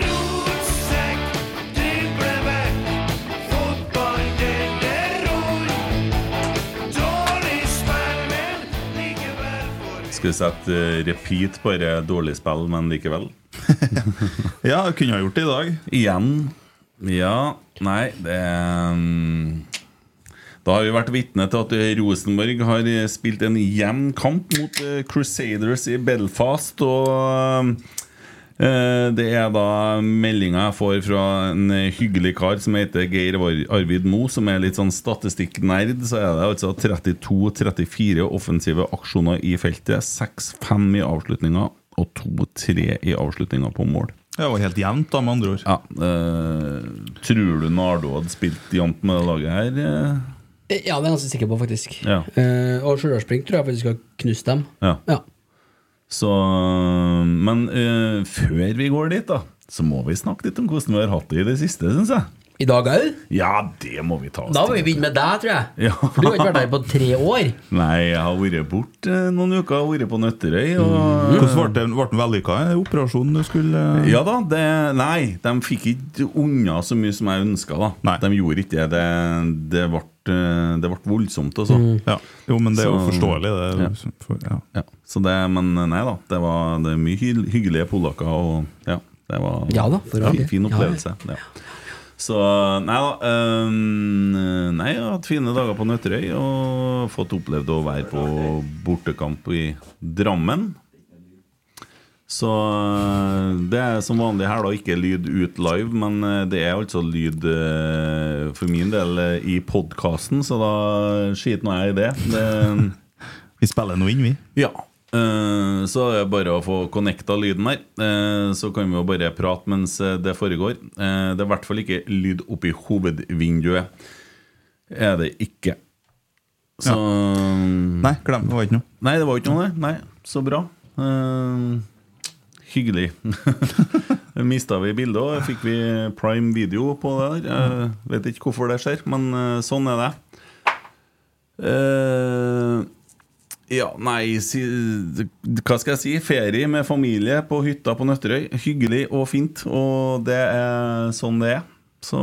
Rotsekk, driblevekk, fotball, det ror. Dårlig spill, men likevel for Skal vi sette eh, repeat på dette dårlig spill, men likevel? Ja, jeg kunne ha gjort det i dag. Igjen. Ja. Nei, det mm, Da har vi vært vitne til at eh, Rosenborg har eh, spilt en jevn kamp mot eh, Crusaders i Belfast. Og ehm, eh, det er da meldinga jeg får fra en eh, hyggelig kar som heter Geir Ar- Arvid Moe, som er litt sånn statistikknerd. Så er det altså 32-34 offensive aksjoner i feltet. 6-5 i avslutninga og 2-3 i avslutninga på mål. Det var helt jevnt, da, med andre ord. Ja, eh, Tror du Nardo hadde spilt jevnt med det laget her? eh? Ja, det er jeg ganske sikker på, faktisk. Ja. Eh, og Stjørdalsblink tror jeg faktisk skal knuse dem. Ja. Ja. Så, men eh, før vi går dit, da, så må vi snakke litt om hvordan vi har hatt det i det siste, syns jeg. I dag òg? Ja, det må vi ta oss Da må vi begynne med deg, tror jeg. Ja. For du har ikke vært her på tre år. Nei, jeg har vært borte noen uker, jeg har vært på Nøtterøy. Og, Hvordan ble den- ble den vellykka, den operasjonen du skulle eh, Ja da, det, nei, de fikk ikke unna så mye som jeg ønska. Nei. De gjorde ikke det. Det, det, ble, eh, det ble voldsomt, altså. Mm. ja. Jo, men det er jo Så- forståelig, det. Ja. For, ja. Ja, så det, men eh, nei da, det var det er mye hy hyggelige polakker, og ja, det var Ja da, for all fin, del. Ja, fin ja. opplevelse. Ja, Så nei da, øhm, nei, jeg har hatt fine dager på Nøtterøy, og fått opplevd å være på bortekamp i Drammen. Så eh, det er som vanlig her da ikke lyd ut live, men eh, det er altså lyd eh, for min del eh, i podkasten, så da skiter nå jeg i det. det Vi spiller nå inn, vi. ja. eh, Så er det bare å få connecta lyden her. eh, Så kan vi jo bare prate mens eh, det foregår. Eh, Det er i hvert fall ikke lyd oppi hovedvinduet. Er det ikke. Så Nei, glem det. var ikke noe. Nei, det var jo ikke noe, det. Nei, så bra. Eh, hyggelig. Mista vi bildet òg? Fikk vi prime video på det der? Jeg vet ikke hvorfor det skjer, men eh, sånn er det. Eh, ja, nei si, Hva skal jeg si? Ferie med familie på hytta på Nøtterøy. Hyggelig og fint, og det er sånn det er. Så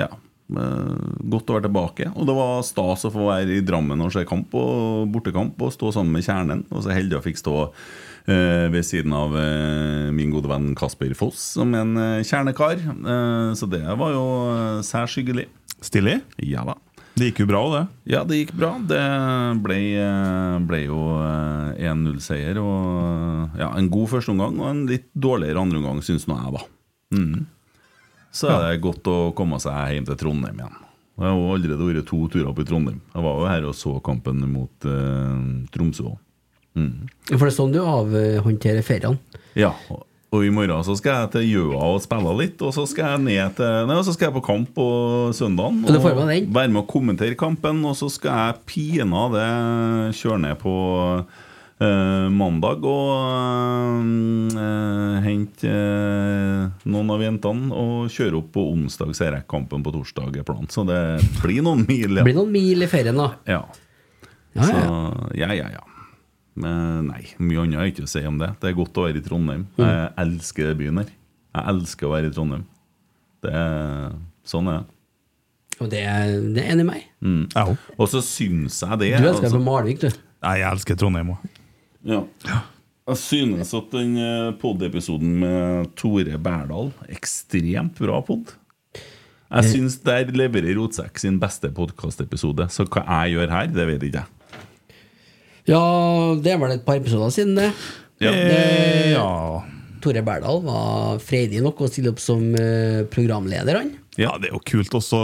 ja. eh, Godt å være tilbake. Og det var stas å få være i Drammen og se kamp og bortekamp og stå sammen med kjernen. Og så heldig jeg fikk stå eh, ved siden av eh, min gode venn Kasper Foss som en eh, kjernekar. Eh, så det var jo eh, særs hyggelig. Stilig. Ja da. Det gikk jo bra, det. Ja, det gikk bra. Det ble, ble jo eh, 1-0-seier. Og ja, En god førsteomgang og en litt dårligere andreomgang, syns nå jeg, da. Mm. Så er det godt å komme seg hjem til Trondheim igjen. Og jeg har jo allerede vært to turer opp i Trondheim. Jeg var jo her og så kampen mot eh, Tromsø òg. For det er sånn du avhåndterer feriene. Ja, og- og i morgen så skal jeg til Gjøa og spille litt, og så skal jeg ned til Nei, og så skal jeg på kamp på søndagen. Og det får man den. være med og kommentere kampen, og så skal jeg pinadø kjøre ned på eh, mandag og eh, hente eh, noen av jentene og kjøre opp på onsdag, så jeg rekker kampen på torsdag. er planen. Så det blir noen mil. Det Ja, blir noen mil i ferien, da. ja. Ja, Så Ah, ja. ja, ja, ja. Men nei, mye annet er ikke å si om det. Det er godt å være i Trondheim. Mm. Jeg elsker byen her. Jeg elsker å være i Trondheim. Det er, sånn er det. Og det, er- det er enig meg. Mm. Jeg òg. Og så syns jeg det. Du elsker deg altså, på Malvik, du. Nei, jeg elsker Trondheim òg. ja. Jeg synes at den eh, pod-episoden med Tore Berdal Ekstremt bra pod. Jeg syns der leverer Rotsekk sin beste podkastepisode. Så hva jeg gjør her, det vet ikke jeg. Ja, det er vel et par episoder siden, det. Ja. Eh, Ja. Tore Berdal var freidig nok å stille opp som eh, programleder, han. ja, det er jo kult også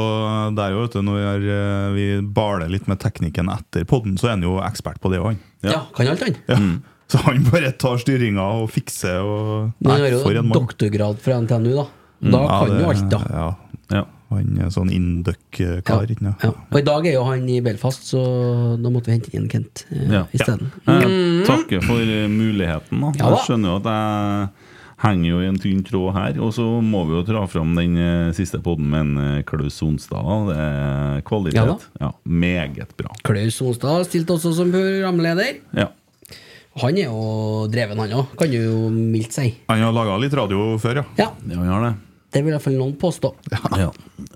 der òg, vet du. Når vi, har, eh, vi baler litt med teknikken etter podden, så er han jo ekspert på det òg, han. Ja. kan alt, han. Ja. Så han bare tar styringa og fikser og Men han har for jo en mann. Mm. doktorgrad fra NTNU, da. Da kan det- jo alt, da. Ja. Ja. Han er sånn induck-kar, ikke sant? Ja. Og i dag er jo han i Belfast, så da måtte vi hente inn Kent eh, Ja. isteden. Jeg takker for eh, muligheten. Da. Mm. Ja da. Jeg skjønner jo at jeg henger jo i en tynn tråd her. Og så må vi jo dra fram den eh, siste poden med en eh, Klaus Sonstad. da. Det er Ja da. kvalitet. Ja, meget bra. Klaus Onstad stilte også som programleder. Ja. Han er jo dreven, han òg, kan du jo mildt si. Han har laga litt radio før, ja. Ja, Ja, vi har det. det vil iallfall noen påstå. Ja.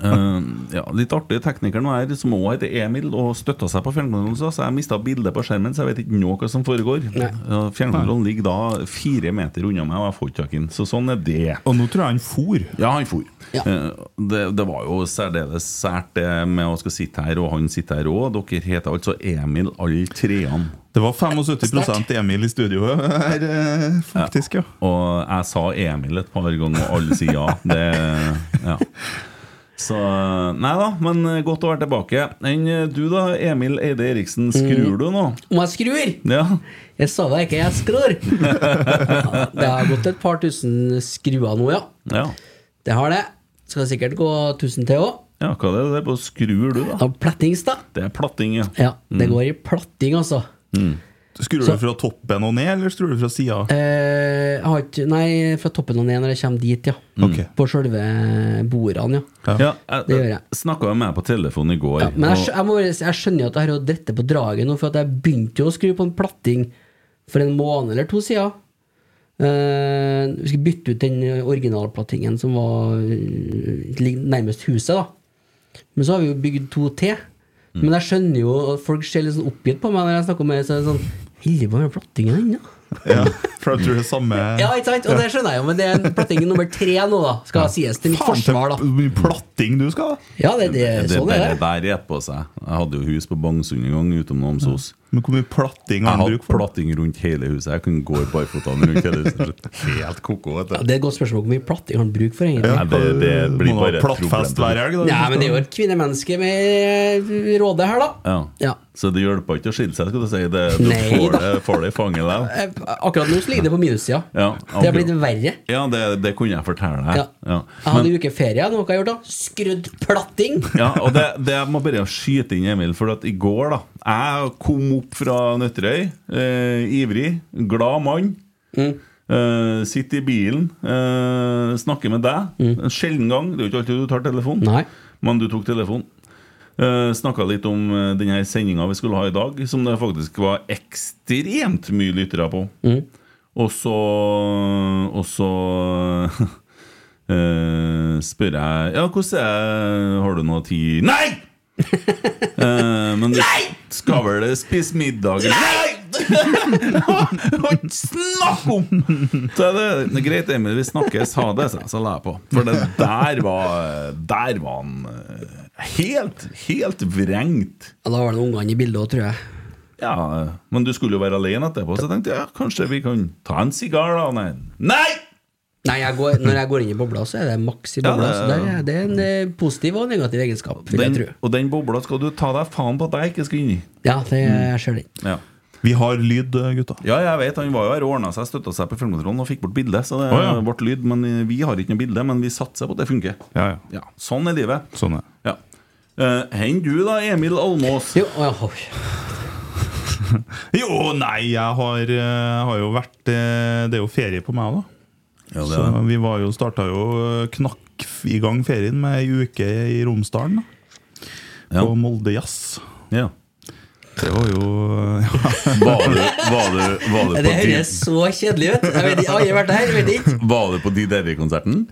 Eh, ja, litt artig teknikeren var her, som også heter Emil, og støtta seg på fjernkontrollen. Så jeg mista bildet på skjermen, så jeg vet ikke nå hva som foregår. Nei. Ja, Fjernkontrollen ligger da fire meter unna meg, og jeg får ikke tak i den. Så sånn er det. Og nå tror jeg han for. Ja, han for. Ja. Eh, Det, det var jo særdeles sært det med å skal sitte her, og han sitter her òg. Dere heter altså Emil alle treene. Det var 75 Emil i studio her, eh, faktisk, ja. Og jeg sa Emil et par ganger, og alle sier ja. Det, ja. Så Nei da, men godt å være tilbake. Enn eh, du da, Emil Eide Eriksen, skrur du nå? Om jeg skrur? Ja. Jeg sa da ikke jeg skrur! Ja, det har gått et par tusen skruer nå, ja. ja. Det har det. Skal sikkert gå 1000 til òg. Ja, hva er det der på skrur du, da? Plattings, da. Det er platting, ja. Ja, det går i platting, altså. Skrur du fra toppen og ned, eller skrur du fra sida? Eh, jeg har ikke Nei, fra toppen og ned når jeg kommer dit, ja. Ok. På sjølve bordene, ja. ja Det gjør jeg. Snakka jo med deg på telefon i går. ja men jeg, skjø- og- jeg, må, bare si- jeg skjønner jo at jeg har å drette på draget nå, for at jeg begynte jo å skru på en platting for en måned eller to siden. Eh, vi skulle bytte ut den originalplattingen som var eh, lig- nærmest huset, da. Men så har vi jo bygd to til. Men jeg skjønner jo at folk ser litt sånn oppgitt på meg når jeg snakker om det. Så er det sånn Hilde på den plattingen ennå. Ja, for jeg tror det er samme Ja, ikke sant? Og det skjønner jeg jo, men det er plattingen nummer tre nå, da. Skal sies til mitt Faen, forsvar, så da. mye platting du skal ha! Ja, det, det, Det sånn er bare det. bærer på seg. Jeg hadde jo hus på Bangsund en gang utenom Namsos. Men hvor mye platting Jeg har han hadde bruk for? platting rundt hele huset. Jeg kunne gå i barføttene rundt hele huset. Helt koko, vet Ja, det er et godt spørsmål hvor mye platting han bruker for, egentlig. Nei, det, det blir Må bare ha et plattfest hver problem. helg, da. Nei, men det er jo et kvinnemenneske med eh, råde her, da. Ja. Ja. Så det hjelper ikke å skille seg, skal du si. Det, du Nei får da. det, får det i fanget likevel. Eh, Akkurat nå så ligger det på minussida. Ja, det akkurat. har blitt verre. Ja, det, det kunne jeg fortelle deg. Ja. Ja. Jeg hadde en uke ferie, noe jeg har gjort da. Skrudd platting! Ja, og det, det jeg må bare skyte inn, Emil, for at i går da Jeg kom opp fra Nøtterøy, eh, ivrig, glad mann. Eh, sitter i bilen, eh, snakker med deg. En sjelden gang. Det er jo ikke alltid du tar telefonen, Nei. men du tok telefonen. Eh, Snakka litt om eh, denne sendinga vi skulle ha i dag, som det faktisk var ekstremt mye lyttere på. Og så Og så Eh, spør jeg Ja, hvordan er Har du noe tid? Nei! Eh, men du skal vel spise middag? Nei! Ikke snakk om! Så er det, det er greit, Emil, vi snakkes. Ha det, sa jeg. Så la jeg på. For det der var Der var han eh, helt, helt vrengt. Ja, da var det ungene i bildet òg, tror jeg. Ja, Men du skulle jo være alene etterpå, så jeg tenkte ja, kanskje vi kan ta en sigar, da? Nei! Nei! Nei, jeg går, når jeg går inn i bobla, så er det maks i Ja, bobla. det- så det, er- det er en eh, positiv og negativ egenskap, vil jeg Den, tro. og den bobla skal du ta deg faen på at jeg ikke skal inn i. Ja, det jeg ser den. Ja. Vi har lyd, eh, gutta. ja, jeg vet. Han var jo her og ordna seg, støtta seg på filmkontrollen og fikk bort bildet. Så det Å, ja. ble lyd. Men vi har ikke noe bilde, men vi satser på at det funker. Ja, ja. Ja, Sånn er livet. Sånn er det. Ja. Eh, Hent du, da, Emil Almås. Jo, å, ja, oi. Jo, nei, jeg har, eh, har jo vært eh, Det er jo ferie på meg, da. Ja, det er Så vi var jo, starta jo eh, knakk f- i gang ferien med ei uke i Romsdalen. da Ja. På Molde Jazz. Ja. Det var jo ja. Var du, var du, var du Ja, på Det de- høres så kjedelig ut. Jeg vet ikke, jeg har aldri vært der, jeg vet ikke. Var du på de Derry-konserten?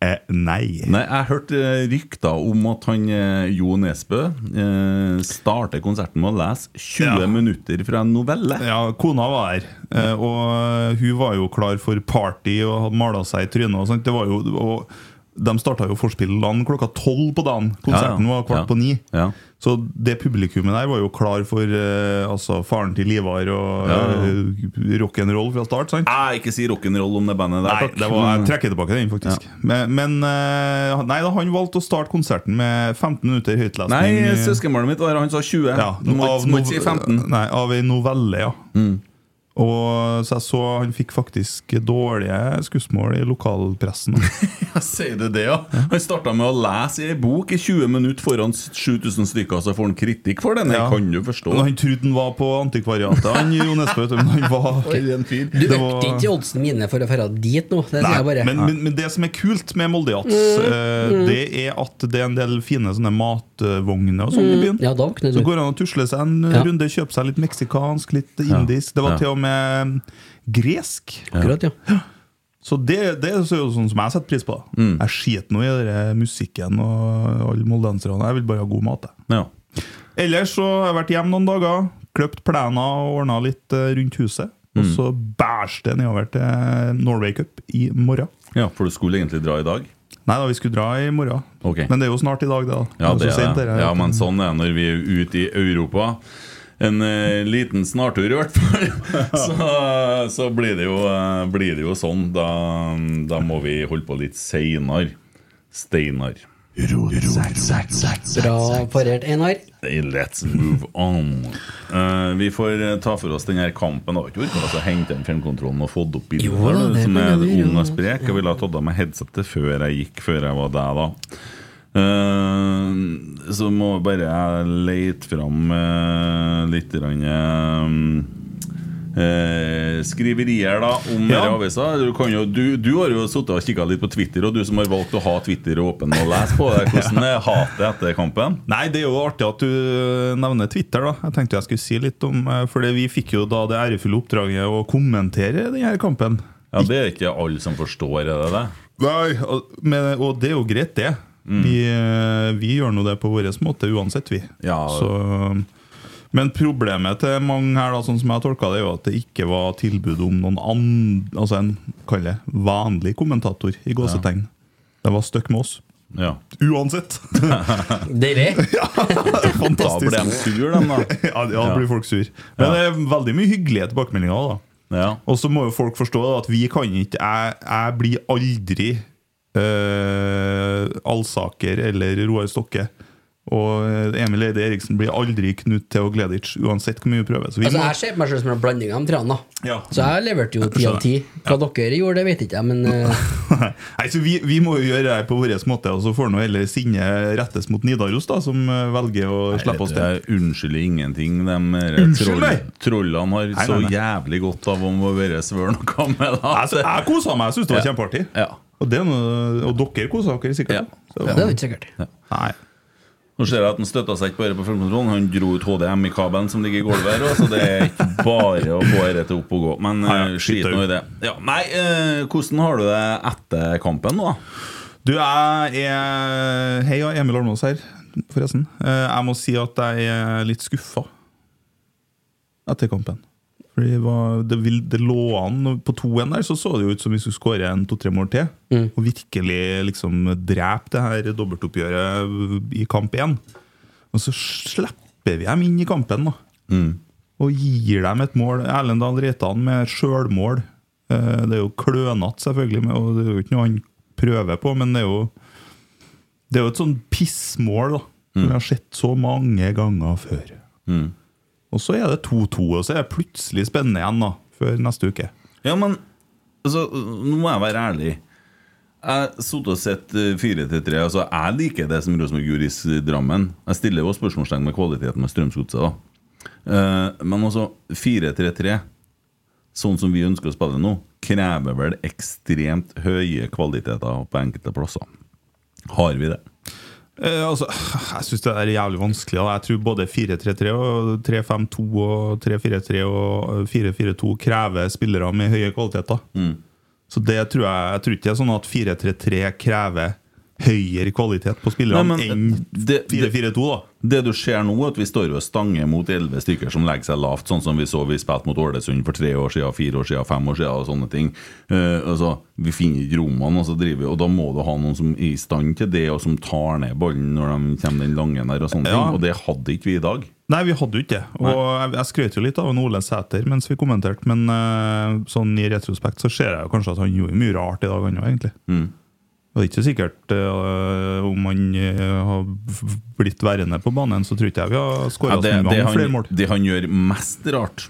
eh, Nei. Nei, jeg hørte eh, rykter om at han eh, Jo Nesbø eh, starter konserten med å lese 20 Ja. minutter fra en novelle. Ja, kona var her, eh, og hun var jo klar for party og hadde mala seg i trynet. og sånt. Det var jo, og de starta jo forspillene klokka tolv på dagen. Konserten Ja, ja. var kvart Ja. på ni. Ja. Så det publikummet der var jo klar for eh, altså faren til Ivar og Ja, ja. eh, rock'n'roll fra start. sant? Jeg ikke si rock'n'roll om det bandet der. Nei, takk. det var, jeg trekker tilbake den, faktisk. Men, men eh, han- nei, da, han valgte å starte konserten med 15 minutter høytlesning. Nei, eh, søskenbarnet mitt var her, han sa 20. ja, du må, av ikke- må ikke nov- si 15. Nei, av ei novelle, ja. Og så jeg så han fikk faktisk dårlige skussmål i lokalpressen. Ja, Sier du det, ja? Han starta med å lese i ei bok i 20 minutter foran 7000 stykker, så får han kritikk for det. Nei, Ja. kan du forstå. Men han trodde han var på antikvariatet, han Jo Nesbø, vet du, men han var Du Det var- økte ikke oddsen mine for å dra dit nå. Det sier jeg bare. Mm, men, men, men det som er kult med Molde Jazz, eh, det er at det er en del fine sånne matvogner og sånn i byen. Mm, Ja, da våkner Så du. går det an å tusle seg en Ja. runde, kjøpe seg litt meksikansk, litt indisk. Det var Ja. til og med mm, gresk. Akkurat, ja. Så det, det er jo sånn som jeg setter pris på. da. Mm. Jeg skiter nå i den der musikken og alle moldenserne. Jeg vil bare ha god mat. jeg. Ja. Ellers så har jeg vært hjemme noen dager, kløpt plener og ordna litt eh, rundt huset. Og Mm. så bæsj det nedover til Norway Cup i morgen. ja, for du skulle egentlig dra i dag? Nei da, vi skulle dra i morgen. Ok. Men det er jo snart i dag, det. da. Ja, Det er det så sent, er det. her. Ja, men sånn er det når vi er ute i Europa. En eh, liten snartur, i hvert fall. så, så blir, det jo, eh, blir det jo sånn. Da, da må vi holde på litt seinere. Steinar. Bra parert, Einar. Hey, Let's move on. Eh, vi får eh, ta for oss den her kampen. Da. Ikke orka altså, hente inn filmkontrollen og fått opp bildet Jo, der, det som kan er jeg gjøre, ung ja. og sprek. Jeg ville ha tatt av meg headsetet før jeg gikk, før jeg var der, da. Eh, så må bare jeg leite fram eh, litt grann, eh, eh, skriverier da om Ja. denne avisa. Du, kan jo, du, du har jo sittet og kikka litt på Twitter, og du som har valgt å ha Twitter åpen og lese på det. Hvordan er hatet etter kampen? Nei, det er jo artig at du nevner Twitter, da. Jeg tenkte jeg skulle si litt om eh, Fordi vi fikk jo da det ærefulle oppdraget å kommentere denne kampen. Ja, Det er ikke alle som forstår, er det det? Nei, og- men, og det er jo greit, det. Mm. Vi, eh, vi gjør nå det på vår måte uansett, vi. Ja. Så, men problemet til mange her, da, sånn som jeg har tolka det, er jo at det ikke var tilbud om noen annen Altså en kall det vanlig kommentator, i gåsetegn. Det var stuck med oss. Ja. Uansett! Deilig. Da Fantastisk. ble de sur, de, da. ja, ja, da blir folk sur. Men Ja. det er veldig mye hyggelige tilbakemeldinger. da Ja. Og så må jo folk forstå da, at vi kan ikke Jeg, jeg blir aldri eh, Alsaker eller Roar Stokke. Og eh, Emil Eide Eriksen blir aldri Knut Theo Gleditsch, uansett hvor mye vi prøver. Så vi Altså, må, jeg ser på meg selv som en blanding av de treene. da. Ja. Så jeg leverte jo ti av ti. Hva dere gjorde, det vet ikke jeg, men eh, Nei, så vi, vi må jo gjøre det her på vår måte, og så får nå heller sinnet rettes mot Nidaros, da som eh, velger å slippe oss Det til. er Unnskyld ingenting. De der Unnskyld troll, meg! trollene har nei, så nei. jævlig godt av om å være svøren og gammel. Jeg, Altså, jeg kosa meg, jeg syns det var Ja. kjempeartig. Ja. Og, det er noe, og dere kosa dere Ja. sikkert. Så- det er jo ikke sikkert. Nei. Nå ser jeg at han støtta seg ikke bare på filmkontrollen. Han dro ut HDM i kabelen som ligger i gulvet her, også, så det er ikke bare å få dette opp og gå. Men Nei, ja, eh, skit skit nå ut. i det. Ja, nei, eh, hvordan har du det etter kampen nå? da? Du, jeg er Hei, ja, Emil Almås her, forresten. Eh, Jeg må si at jeg er litt skuffa etter kampen. Fordi det, var, det, vil, det lå an og På 2-1 der så så det jo ut som vi skulle skåre en to-tre mål til. Og virkelig liksom drepe det her dobbeltoppgjøret i kamp 1. Og så slipper vi dem inn i kampen, da. Og gir dem et mål. Erlendal Reitan med sjølmål. Eh, Det er jo klønete, selvfølgelig, men- og det er jo ikke noe han prøver på, men det er jo Det er jo et sånn pissmål, da. Som vi har sett så mange ganger før. Og så er det 2-2, og så er det plutselig spennende igjen da før neste uke. Ja, men altså, Nå må jeg være ærlig. Jeg satt og sett eh, 4-3. Altså, jeg liker det som Rosenborg gjorde i s- Drammen. Jeg stiller jo spørsmålstegn med kvaliteten med Strømsgodset, da. Eh, men altså, 4-3-3, sånn som vi ønsker å spille nå, krever vel ekstremt høye kvaliteter på enkelte plasser. Har vi det? Eh, altså, jeg syns det er jævlig vanskelig. Da. Jeg tror både 4-3-3, og 3-5-2 og 3-4-3 og 4-4-2 krever spillere med høye kvaliteter. Mm. Så det tror jeg Jeg tror ikke det er sånn at 4-3-3 krever høyere kvalitet på Nei, spillerne men, eh, enn det- det- 4-4-2, da. Det du ser nå, er at vi står og stanger mot elleve stykker som legger seg lavt, sånn som vi så vi spilte mot Ålesund for tre år siden, fire år siden, fem år siden og sånne ting. Eh, altså, vi finner ikke rommene, og, så driver vi, og da må du ha noen som er i stand til det, og som tar ned ballen når de kommer den lange der, og sånne Ja. ting. Og det hadde ikke vi i dag. Nei, vi hadde jo ikke det. Og jeg, jeg skrøt jo litt av en Ole Sæter mens vi kommenterte, men eh, sånn i retrospekt så ser jeg jo kanskje at han gjorde mye rart i dag, han òg, egentlig. Mm. Og det er ikke sikkert eh, om han eh, har f- blitt værende på banen, så tror ikke jeg vi har Ja, det, skåra så altså mange det, ganger flere han, mål. det han gjør mest rart,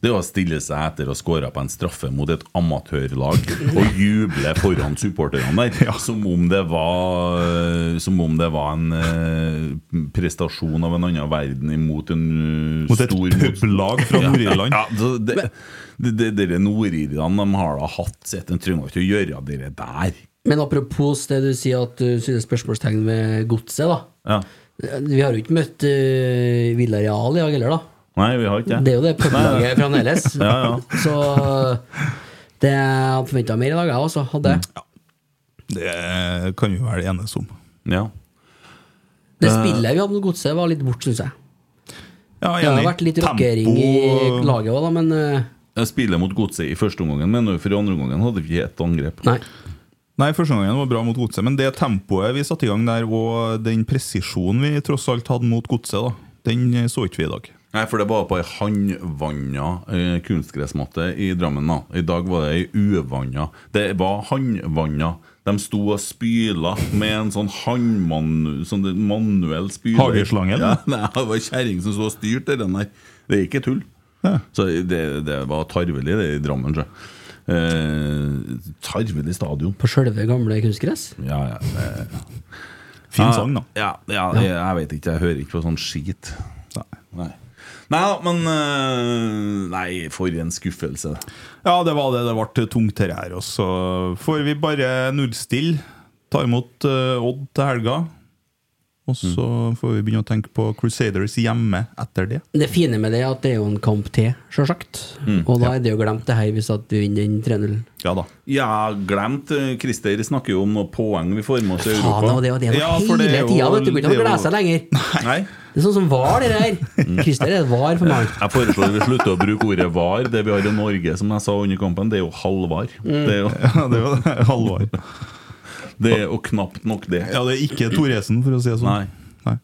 det er å stille seg etter å score på en straffe mot et amatørlag og juble foran supporterne der, som, om det var, som om det var en eh, prestasjon av en annen verden imot en eh, Mot et stor motstander. publag fra Nord-Irland. Ja, så det, det, det, dere nordirene de har da hatt sett en trenger ikke å gjøre det der. Men apropos det du sier at du synes spørsmålstegn ved godset, da. Ja. Vi har jo ikke møtt uh, Villareal i dag heller, da. Nei, vi har ikke Det er jo det publagget fremdeles. Ja, ja. Så det jeg hadde forventa mer i dag, jeg også. Hadde. Mm. jeg. Det kan vi vel enes om. Ja. Det spillet vi hadde mot Godset, var litt bort, syns jeg. Ja, Det har enig. vært litt rockering i Tempo- laget òg, da, men eh, Spillet mot godset i første omgangen, men for i andre omgangen hadde vi ikke ett angrep. nei. Nei, første gangen var bra mot godset, men det tempoet vi satte i gang der, og den presisjonen vi tross alt hadde mot godset, da, den så ikke vi i dag. Nei, for det var på ei handvanna eh, kunstgressmatte i Drammen. da I dag var det ei uvanna. Det var handvanna. De sto og spyla med en sånn handmanu... Sånn manuell spyler. Hageslange, Ja, eller? nei, det var ei kjerring som sto og styrte den der. Det er ikke tull. Så det, det var tarvelig, det i Drammen. sjø. Eh, tarvelig stadion. På sjølve gamle kunstgress. Ja, ja. det- Fin Ja, sang, da. Ja, ja, Jeg, jeg vet ikke, jeg hører ikke på sånn skit. Nei. Nei, nei da, men øh, Nei, for en skuffelse. Ja, det var det. Det ble tungt det her. Og så får vi bare nullstille. Ta imot eh, Odd til helga. Og så får vi begynne å tenke på Crusaders hjemme etter det. Det fine med det er at det er jo en kamp til, sjølsagt. Mm. Og da er det jo glemt det her hvis at vi vinner den 3-0. Ja da. Ja, glemt øh, Christer snakker jo om noen poeng vi får med oss Faen, i det var Europa. det, og det var Ja, for hele det er jo- tida, vet du. Burde det ikke er glede jo- Mm. seg lenger. Nei. Det er sånn som var, det der. Christer er et var for meg. Jeg foreslår vi slutter å bruke ordet var. Det vi har i Norge, som jeg sa under kampen, det er jo halvvar. Det er jo Ja, det var det. Halvor. det er jo knapt nok det. Ja, det er ikke Thoresen, for å si det Nei. sånn. Nei.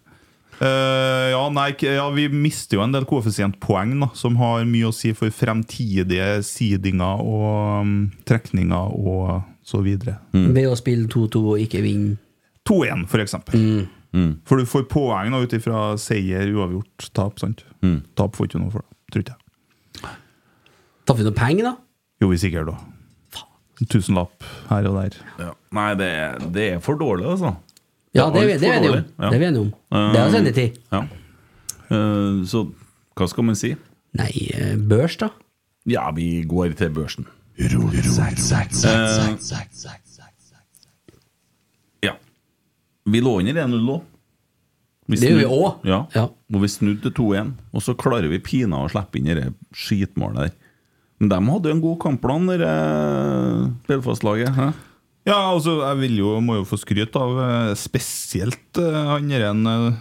Eh, ja, nei, k- ja, vi mister jo en del koeffisientpoeng, da, som har mye å si for fremtidige sidinger og mm, trekninger og så videre. Ved å spille 2-2 og ikke vinne. 2-1, for eksempel. Mm. For du får poeng da ut ifra seier, uavgjort, tap. sant? Tap får ikke du noe for, da, tror ikke jeg. Tapte vi noe penger, da? Jo, vi sikkert, da. En tusenlapp her og der. Ja. Nei, det er, det er for dårlig, altså. Ja, det, Det det, det er vi er altfor enige om. dårlig, ja. Det er vi enige om. Det er altså E sendt i tid. Ja. Eh, så hva skal man si? Nei, eh, børs, da. Ja, vi går til børsen. Ja. Vi lå under 1-0 nå. Det gjør vi også. Ja. Ja. Og vi snudde til 2-1, og så klarer vi pinadø å slippe inn det skitmålet der. Men de hadde jo en god kampplan, det eh, Belfast-laget. hæ? Ja, altså, jeg vil jo, må jo få skryt av eh, spesielt eh, han der enn eh,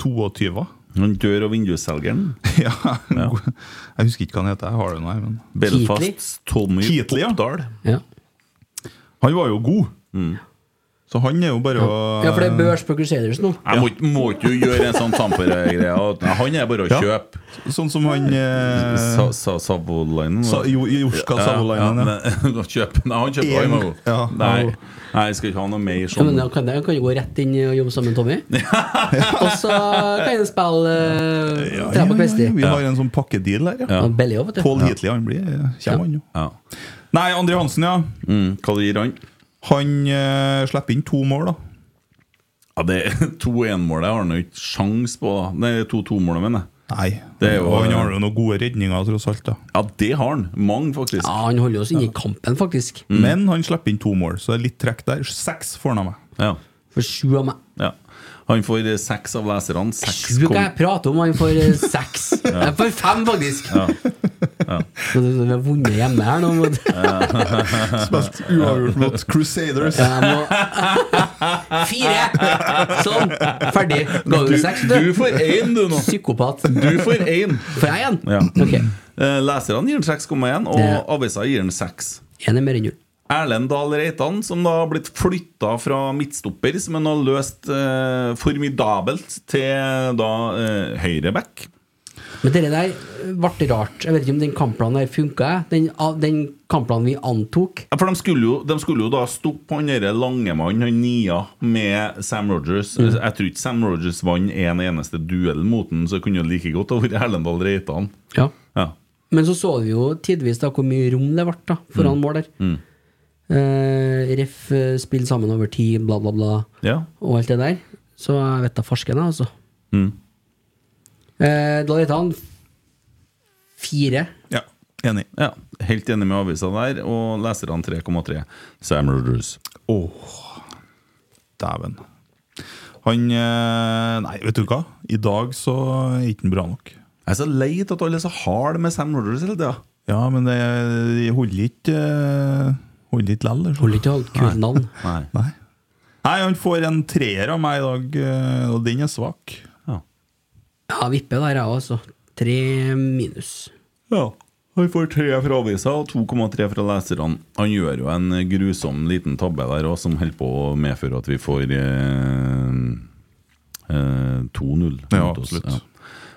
22. Han dør av vindusselgeren. ja, Jeg husker ikke hva han heter, jeg har det nå her. Men. Belfasts Tommy Keatley, ja. Oppdal. Ja. Mm. Han var jo god. Så han er jo bare å Ja, for det er børs på Crusaders nå. Jeg må, ikke- må ikke jo gjøre en sånn Tampere-greie. at Han er bare å Ja. kjøpe. Sånn som han eh, Sa- sa- Savolainen Sa- Jo- Jorska Savolainen, ja. men- Kjøp. Nei, han kjøper En- han også. ja, Nei. han også. Nei, jeg skal ikke ha noe mer Ja, men sånn. da kan, da kan jo gå rett inn og jobbe sammen med Tommy. og så kan jeg spille uh, tre på kveldstid. Vi har en sånn pakkedeal her, ja. Ja. Belly òg, vet du. Pål Heatley, han blir eh, Kommer han jo. Ja. Nei, André Hansen, ja. Mm, hva gir han? Han eh, slipper inn to mål, da. Ja, det To 1-målet har han jo ikke sjans på. da. Nei, to 2-målet, mener jeg. Nei. Det er jo- og han har jo noen gode redninger, tross alt. da Ja, det har han. Mange, faktisk. Ja, han holder oss inne i kampen, faktisk. Mm. Men han slipper inn to mål, så det er litt trekk der. Seks får han av meg. Ja. For sju av meg. ja. Han får eh, seks av leserne. Seks Sju kom- kan jeg prate om, han får eh, seks. Jeg får fem, faktisk! Men det- Vi har vunnet hjemme her nå. men- Spilt uavgjort mot Crusaders. Ja, jeg må... Fire! Sånn. Ferdig. Ga du seks, Du får én, du, nå. Psykopat. Du får én. Får jeg en? Ja. Ok. Eh, Leserne gir han 6,1, Det- og avisa gir han 6. En er mer enn null. Erlend Dahl Reitan, som da har blitt flytta fra midtstopper, som han har løst eh, formidabelt, til da eh, høyreback. Men det der eh, ble rart. Jeg vet ikke om den kampplanen her funka. Den, av- den kampplanen vi antok. Ja, For de skulle, jo, de skulle jo da stoppe han derre lange mannen, han Nia, med Sam Rogers. Mm. Jeg tror ikke Sam Rogers vant en eneste duell mot han, så det kunne jo like godt ha vært Erlend Dahl Reitan. Ja. Men så så vi jo tidvis da hvor mye rom det ble da, Mm. foran mål der. Eh, ref eh, spill sammen over tid, bla, bla, bla, ja. og alt det der. Så jeg vet da farsken, jeg, altså. Mm. Eh, da heter han fire. Ja, Enig. ja. Helt enig med avisa der, og leserne 3,3. Sam Rogers. Åh, dæven. Han eh, Nei, vet du hva? I dag så er ikke han bra nok. Jeg er så lei av at alle er så harde med Sam Rogers hele tida. Ja, men det de holder ikke eh, Holder ikke lell. Holder ikke å ha et kult navn. Nei. Nei. Nei, han får en treer av meg i dag, eh, og den er svak. Ja. Ja, vippe der, jeg òg, altså. Tre minus. Ja. Han får tre fra avisa og 2,3 fra leserne. Han gjør jo en grusom liten tabbe der også, som holder på å medføre at vi får eh, eh, 2-0. Ja, mot oss. absolutt.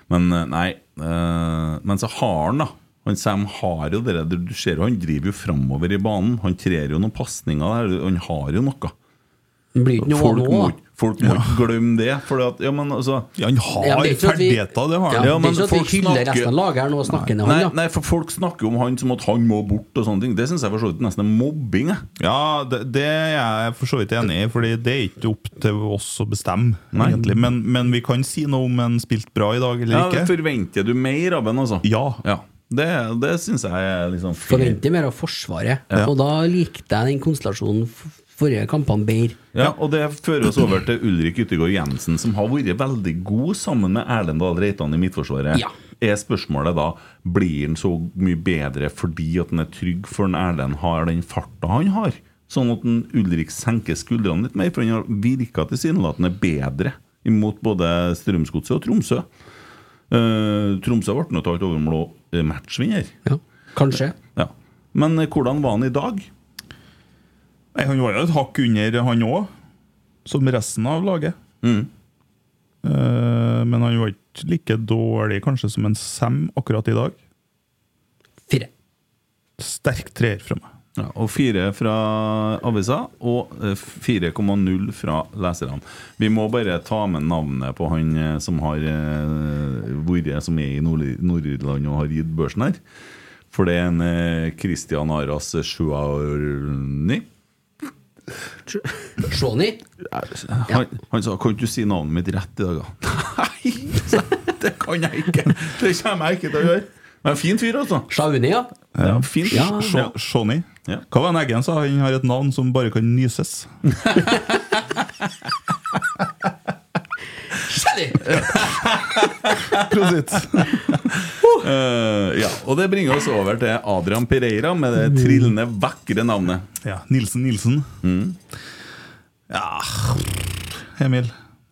Men eh, nei eh, Men så har han, da. Han Sam har jo det der, du ser jo, han driver jo framover i banen. Han trer jo noen pasninger der. Han har jo noe. Det blir ikke noe Folk nå, må, da. ikke- folk må ikke glemme det. For at, ja, men altså Ja, Ja, han men har det er ikke sånn at vi- ferdigheter, det Ja, har han. Ja, det men er ikke sånn at folk vi hyller snakker- resten av laget her nå og snakker ned han, Nei, da. nei, for folk snakker jo om han som at han må bort og sånne ting. Det syns jeg for så vidt nesten er mobbing. Jeg. Ja, det, det er jeg for så vidt enig i, Fordi det er ikke opp til oss å bestemme. egentlig Men, men vi kan si noe om en spilt bra i dag eller Ja, ikke. forventer du mer av en, altså? Ja. Ja. Det, det syns jeg er liksom fair. Forventer mer av Forsvaret. Og da likte jeg den konstellasjonen f- forrige kampene bedre. Ja, og det fører oss over til Ulrik Yttergård Jensen, som har vært veldig god sammen med Erlend Dahl Reitan i Midtforsvaret. Ja. Er spørsmålet da blir han så mye bedre fordi at han er trygg for en Erlend har den farta han har? Sånn at en Ulrik senker skuldrene litt mer, for han har virka tilsynelatende bedre imot både Strømsgodset og Tromsø. Eh, Tromsø ble nå tatt over med eh, matchvinner. Ja, kanskje. Ja. Men eh, hvordan var han i dag? Nei, han var jo et hakk under, han òg. Som resten av laget. Mm. Eh, men han var ikke like dårlig kanskje som en Sam akkurat i dag. Fire. Sterk treer fra meg. Ja, og fire fra avisa og eh, 4,0 fra leserne. Vi må bare ta med navnet på han eh, som har eh, vært som er i Nord- Nord-Irland og har gitt børsen her. For det er en eh, Christian Aras Sjuarni. Shawnee? Han, han sa 'Kan ikke du si navnet mitt rett i dag', da? Nei! sa jeg, Det kan jeg ikke! Det kommer jeg ikke til å gjøre. Men fin fyr, altså. Shawnee, ja. Ja, fin. Ja. Sjo- Shawnee. Ja. Hva var det Eggen sa? Han har et navn som bare kan nyses. Shawnee! Prosit. Eh, ja, og det bringer oss over til Adrian Pereira med det trillende, vakre navnet. Ja, Nilsen Nilsen. Ja Emil,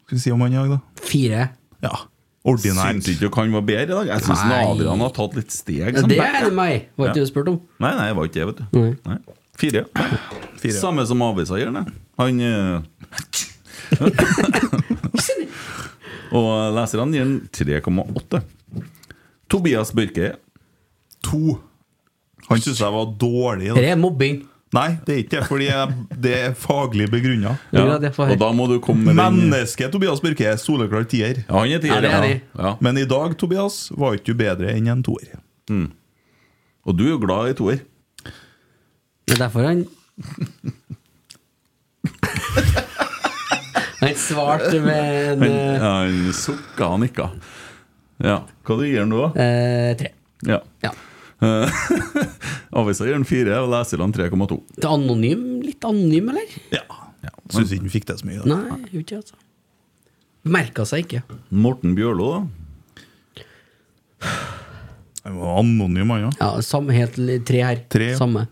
skal vi si om han i dag, da? Fire. Ja. Syns Ordinært. ikke dere han var bedre i dag? Jeg syns Nei. Adrian har tatt litt steg. Ja, som det back. er det meg. Var ikke det du spurte om? Nei, nei, det var ikke det, vet du. Nei. Nei. Fire. Fire. Samme som avisa gjør, det. Han eh, Og leserne gir den 3,8. Tobias Børke To. Han syns jeg var dårlig. Da. Dette er mobbing. Nei, det er ikke det, fordi jeg, det er faglig begrunna. Ja, det er for høyt. Og da må du komme med den Mennesket Tobias Børke er soleklar tier. Ja, han er Ja, tier, det er ja. de. ja. Men i dag, Tobias, var ikke du bedre enn en toer. Og du er jo glad i toer. Det er derfor han Han svarte med en Han, eh, ja, han sukka og nikka. Ja. Hva du gir han nå, da? eh, tre. Ja. Ja. Avisa gir han 4, og leserne 3,2. Det er anonym, litt anonym, eller? Ja. Syns ikke han fikk det så mye. Da. Nei, gjorde ikke altså. Merka seg ikke. Morten Bjørlo, da? Han var anonym, han òg. Ja, samme, helt li- tre her. Tre, ja. Samme,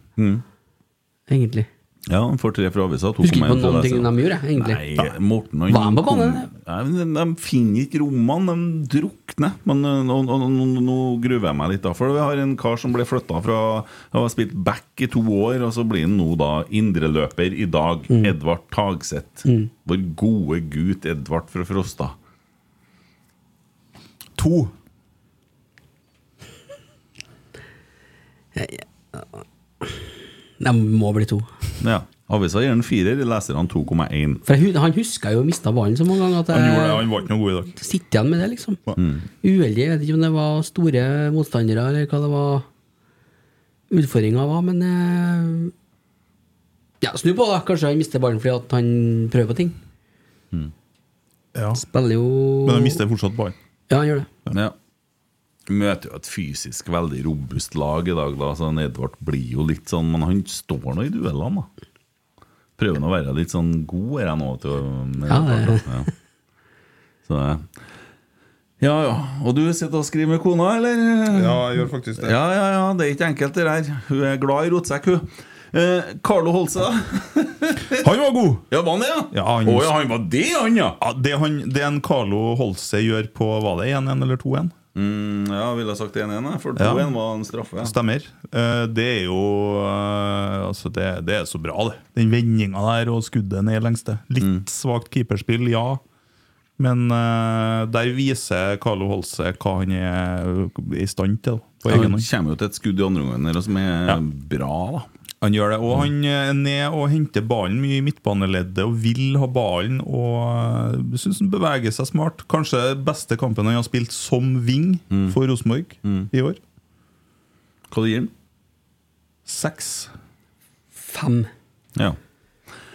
egentlig. Ja, han får 3 fra avisa. Husker ikke på noen ting de gjorde, egentlig. Nei, Morten han Var han på kom- banen? Nei, men de, de finner ikke rommene, de drukner. Men eh, nå, nå, nå, nå gruer jeg meg litt, da. For vi har en kar som ble flytta fra Han har spilt back i to år, og så blir han nå da indreløper i dag. Mm. Edvard Tagseth. Vår gode gutt Edvard fra Frosta. To. De må bli to. Ja. Avisa gir han firer, leserne 2,1. For jeg, hu- han huska jo å mista ballen så mange ganger at Han gjorde det, jeg han var ikke noe god i dag. sitter igjen med det, liksom. Uheldig. Jeg vet ikke om det var store motstandere, eller hva det var utfordringa var, men eh, Ja, snu på det. Kanskje han mister ballen fordi at han prøver på ting. Ja. Spiller jo Men han mister fortsatt ballen. Ja, han gjør det. Ja. Møter jo et fysisk veldig robust lag i dag, da, så han Edvard blir jo litt sånn Men han står nå i duellene, da. Prøver nå å være litt sånn god, er jeg nå. Til, å- med Ja, Edvard, da. ja. Så det Ja ja. Og du sitter og skriver med kona, eller? jeg gjør faktisk ja, ja. ja, Det er ikke enkelt, det der. Hun er glad i rotsekk, hun. Eh, Carlo Holse, da? Han var god! Ja, var han det, ja? Ja, han- Å ja, han var det, han, ja! Ja, det, han, det en Carlo Holse gjør på Var det 1-1 eller 2-1? Mm, ja, ville jeg sagt 1-1, jeg, for 2-1 Ja. var en straffe. ja. Stemmer. Eh, Det er jo eh, Altså, det, det er så bra, det. Den vendinga der og skuddet ned lengste. Litt svakt keeperspill, ja. Men eh, der viser Carlo Holse hva han er i stand til. På Ja, egen han hånd. kommer jo til et skudd i andre omgang der, som er Ja. bra, da. Han gjør det, og han eh, er ned og henter ballen mye i midtbaneleddet og vil ha ballen. Og syns han beveger seg smart. Kanskje beste kampen han har spilt som wing for Rosenborg i år. Hva det gir han? Seks. Fem. Ja.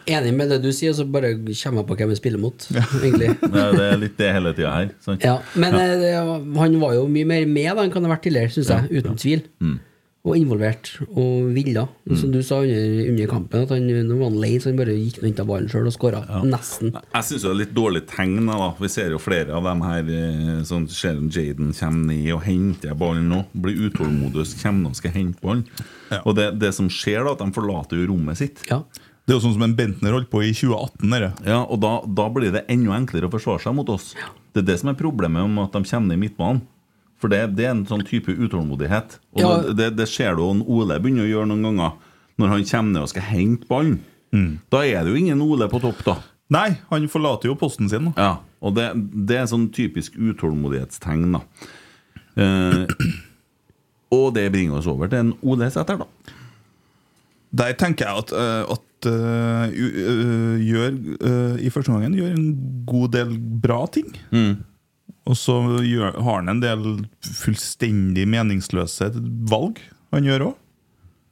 Enig med det du sier, så bare kommer jeg på hvem jeg spiller mot. egentlig. Det er- det er litt det hele tida her. Sant? Ja, men eh, det, han var jo mye mer med da enn han har vært tidligere, syns jeg. Uten tvil. Og involvert og ville. Som du sa under, under kampen, at han når han var lei, så han bare gikk og henta ballen sjøl og skåra. Nesten. Jeg syns det er litt dårlig tegn. da Vi ser jo flere av dem her eh, Sånn ser en Jaden kommer ned og henter ballen nå. Blir utålmodig og kommer ned og skal hente ballen. Ja. Og det, det som skjer, da at de forlater jo rommet sitt. Ja. Det er jo sånn som en Bentner holdt på i 2018. Dere. Ja, og da, da blir det enda enklere å forsvare seg mot oss. Det er det som er problemet om at de kommer ned i midtbanen. For det, det er en sånn type utålmodighet. Og Ja. det, det, det ser du jo en Ole begynner å gjøre noen ganger, når han kommer ned og skal hente ballen. Da er det jo ingen Ole på topp, da. Nei, han forlater jo posten sin. Da. Ja, og det, det er sånn typisk utålmodighetstegn, da. Eh, og det bringer oss over til en Ole Sæter, da. Der tenker jeg at, eh, at eh, u- eh, gjør, eh, i første omgang gjør en god del bra ting. Og så gjør, har han en del fullstendig meningsløse valg han gjør òg.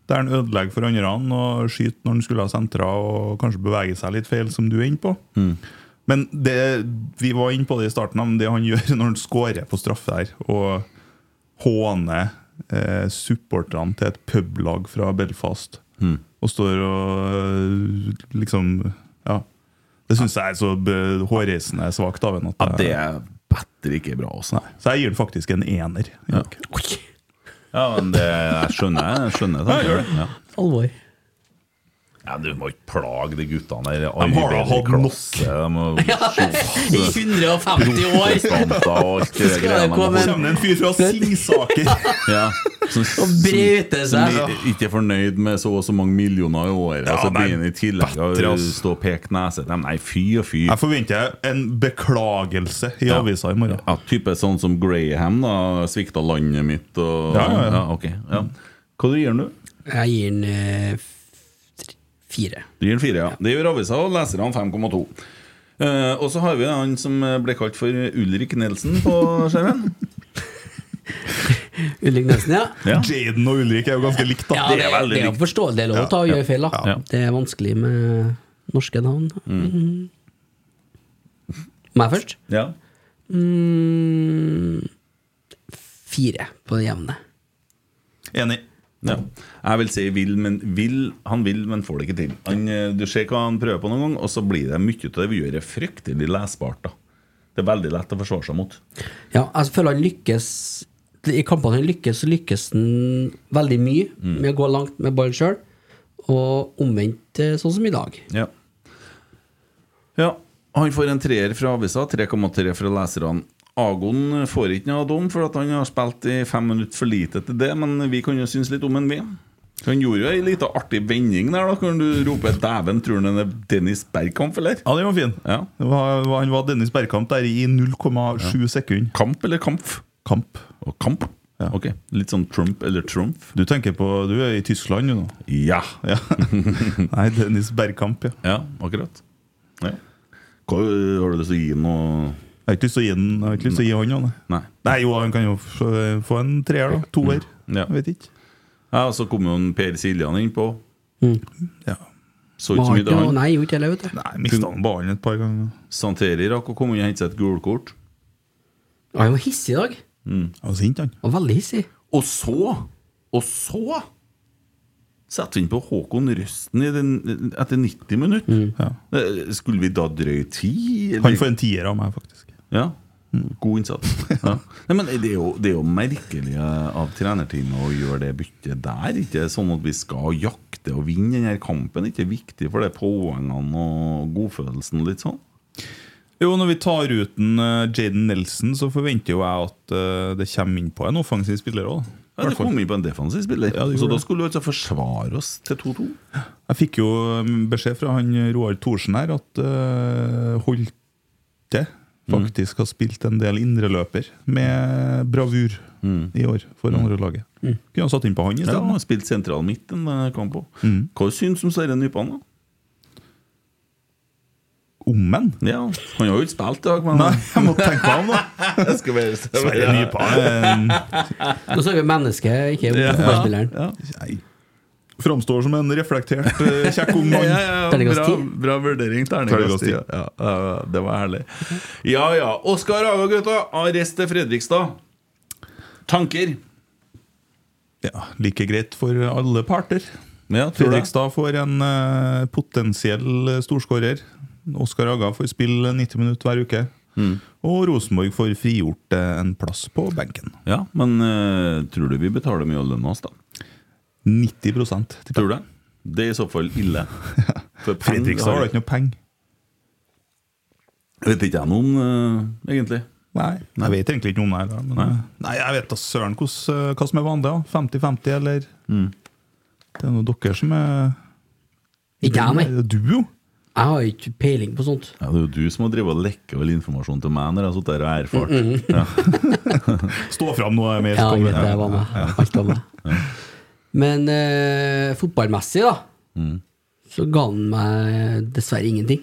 Der han ødelegger for andre og skyter når han skulle ha sentra og kanskje beveger seg litt feil, som du er inne på. Mm. Men det, vi var inne på det i starten, men det han gjør når han scorer på straffe her, og håner eh, supporterne til et publag fra Belfast, Mm. og står og eh, liksom Ja. Det syns jeg er så be- hårreisende svakt av ham. Ja, det er bedre ikke bra, altså. Så jeg gir den faktisk en ener. Ja. Oi, Ja, men det, jeg skjønner jeg skjønner tanken. Ja. alvor. Ja, du må ikke plage de guttene der. har da hatt nok. I 150 år! og alt Skal det det greiene. komme de en- har. Kommer det en fyr fra Singsaker? Ja, som, Og bryte som seg. i- ikke er fornøyd med så og så mange millioner i året, og så nei, begynner i tillegg å bedre, ass. stå og peke nese. Nei, Nei, fy og fy. Jeg forventer en beklagelse i Ja. avisa i morgen. Ja, type sånn som Graham, da. Svikta landet mitt og Ja, ja, ja. ok. Ja. Hva du gir han, du? Jeg gir den eh, f- tre- fire. Du gir han fire, ja. Det gjør avisa og leserne 5,2. Eh, og så har vi han som ble kalt for Ulrik Nelson på skjermen. Ulrik Nelson, ja. Ja. Jaden og Ulrik er jo ganske likt, ja da. det er veldig det er likt. jo forståelig. Det er lov å ta og Ja, gjøre feil, da. ja. Det er vanskelig med norske navn. Mhm. Meg først? Ja. Mm, fire på det jevne. Enig. ja. Jeg vil si vil, men vil, han vil, men får det ikke til. Han, eh, du ser hva han prøver på noen gang, og så blir det mye av det vi gjør, er fryktelig lesbart. da Det er veldig lett å forsvare seg mot. Ja, altså, jeg føler han lykkes I kampene han lykkes, så lykkes han veldig mye Mm. med å gå langt med ballen sjøl. Og omvendt eh, sånn som i dag. Ja. ja. Han får en treer fra avisa, 3,3 fra leserne. Agon får ikke noe dom, for at han har spilt i fem minutter for lite til det. Men vi kan jo synes litt om han, vi. Han gjorde jo ei lita artig vending der, da. Kan du rope 'dæven', tror han han er Dennis Bergkamp, eller? Ja, den var fin. Ja. Det var- var- Han var Dennis Bergkamp der i 0,7 sekunder. Kamp eller kampf? Kamp. Og kamp. Ja. Ok, Litt sånn Trump eller Trumf. Du tenker på Du er i Tyskland, du nå. Ja. Ja. Nei, Dennis Bergkamp, ja. ja, akkurat. Ja. Hva, har du lyst til å gi noe Jeg har ikke lyst til å gi den Jeg har ikke lyst til å gi han, ja. nei. Mm. Nei. Nei, jo, han kan jo f- få en treer, da. Toer. Ja. Jeg vet ikke. Ja, og så kom jo en Per Siljan innpå. Ja. Så ikke så mye til Martin, han. Nei, gjorde ikke det, vet du. Nei, mista han ballen et par ganger. Santeri rakk å komme inn og hente seg et gulkort. Ja, han var hissig i dag. Han var sint, han. Han var veldig hissig. Og så Og så setter vi inn på Håkon Røsten i den, etter 90 minutter. Eh, Skulle vi da drøye ti? eller? Mm. Han får en tier av meg, faktisk. Ja. God innsats. Ja. Nei, men det er, jo, det er jo merkelig eh, av trenerteamet å gjøre det byttet der. Ikke sånn at vi skal jakte og vinne denne kampen. Ikke viktig for det er poengene og godfølelsen. Litt sånn. Jo, når vi tar ut en, eh, Jaden Nelson, så forventer jo jeg at eh, det kommer inn på en offensiv spiller òg. Ja, det kom inn på en defensiv spiller. Ja, det gjorde så da det. skulle vi altså forsvare oss til 2-2. Jeg fikk jo mm, beskjed fra han Roar Thorsen her at eh, Holte Mm. faktisk har spilt en del indreløper med bravur i år for andrelaget. Mm. Kunne han satt inn på han i Mm. Ja, stedet? altså. han har spilt sentral midt en eh, kamp òg. Hva syns du om Sverre Nypan? da? Om han? Ja, Han har jo ikke spilt i dag, men Nei, jeg må tenke meg om, da. Eh, Jeg skal være Sverre Nypan Nå snakker vi menneske, ikke om fotballspilleren. Ja. Nei. Framstår som en reflektert, eh, kjekk ung Ja, mann. ja, ja, Terningkast bra, ti. bra vurdering. Terningkast Terningkast ti. ti. Ja, ja, det var herlig. Mhm. Ja ja. Oskar Aga, gutta. Arrest til Fredrikstad. Tanker? Ja, like greit for alle parter. Ja, tror det. Fredrikstad får en eh, potensiell eh, storskårer. Oskar Aga får spille 90 minutter hver uke. Mm. Og Rosenborg får frigjort eh, en plass på benken. Ja, men eh, tror du vi betaler mye av lønna hans, da? 90 tipper jeg. Tror du det? Det er i så fall ille. For penger Fredrikstad har da ikke noe penger. Vet ikke jeg noe om, eh, egentlig. Nei, jeg vet egentlig ikke noe om det. her, da, Men, eh, nei, jeg vet da søren hvordan, eh, hva som er vanlig. da. 50-50, eller Mm. Det er nå dere som er Ikke jeg, nei. Det er Du, jo! Jeg har ikke peiling på sånt. Ja, det er jo du som har drevet og lekka all informasjon til meg når jeg har sittet her og erfart. Stå fram nå, jeg er med. Ja, jeg så kommer vet det. Jeg var med. Alt var med. Men eh, fotballmessig, da, Mm. så ga han meg dessverre ingenting.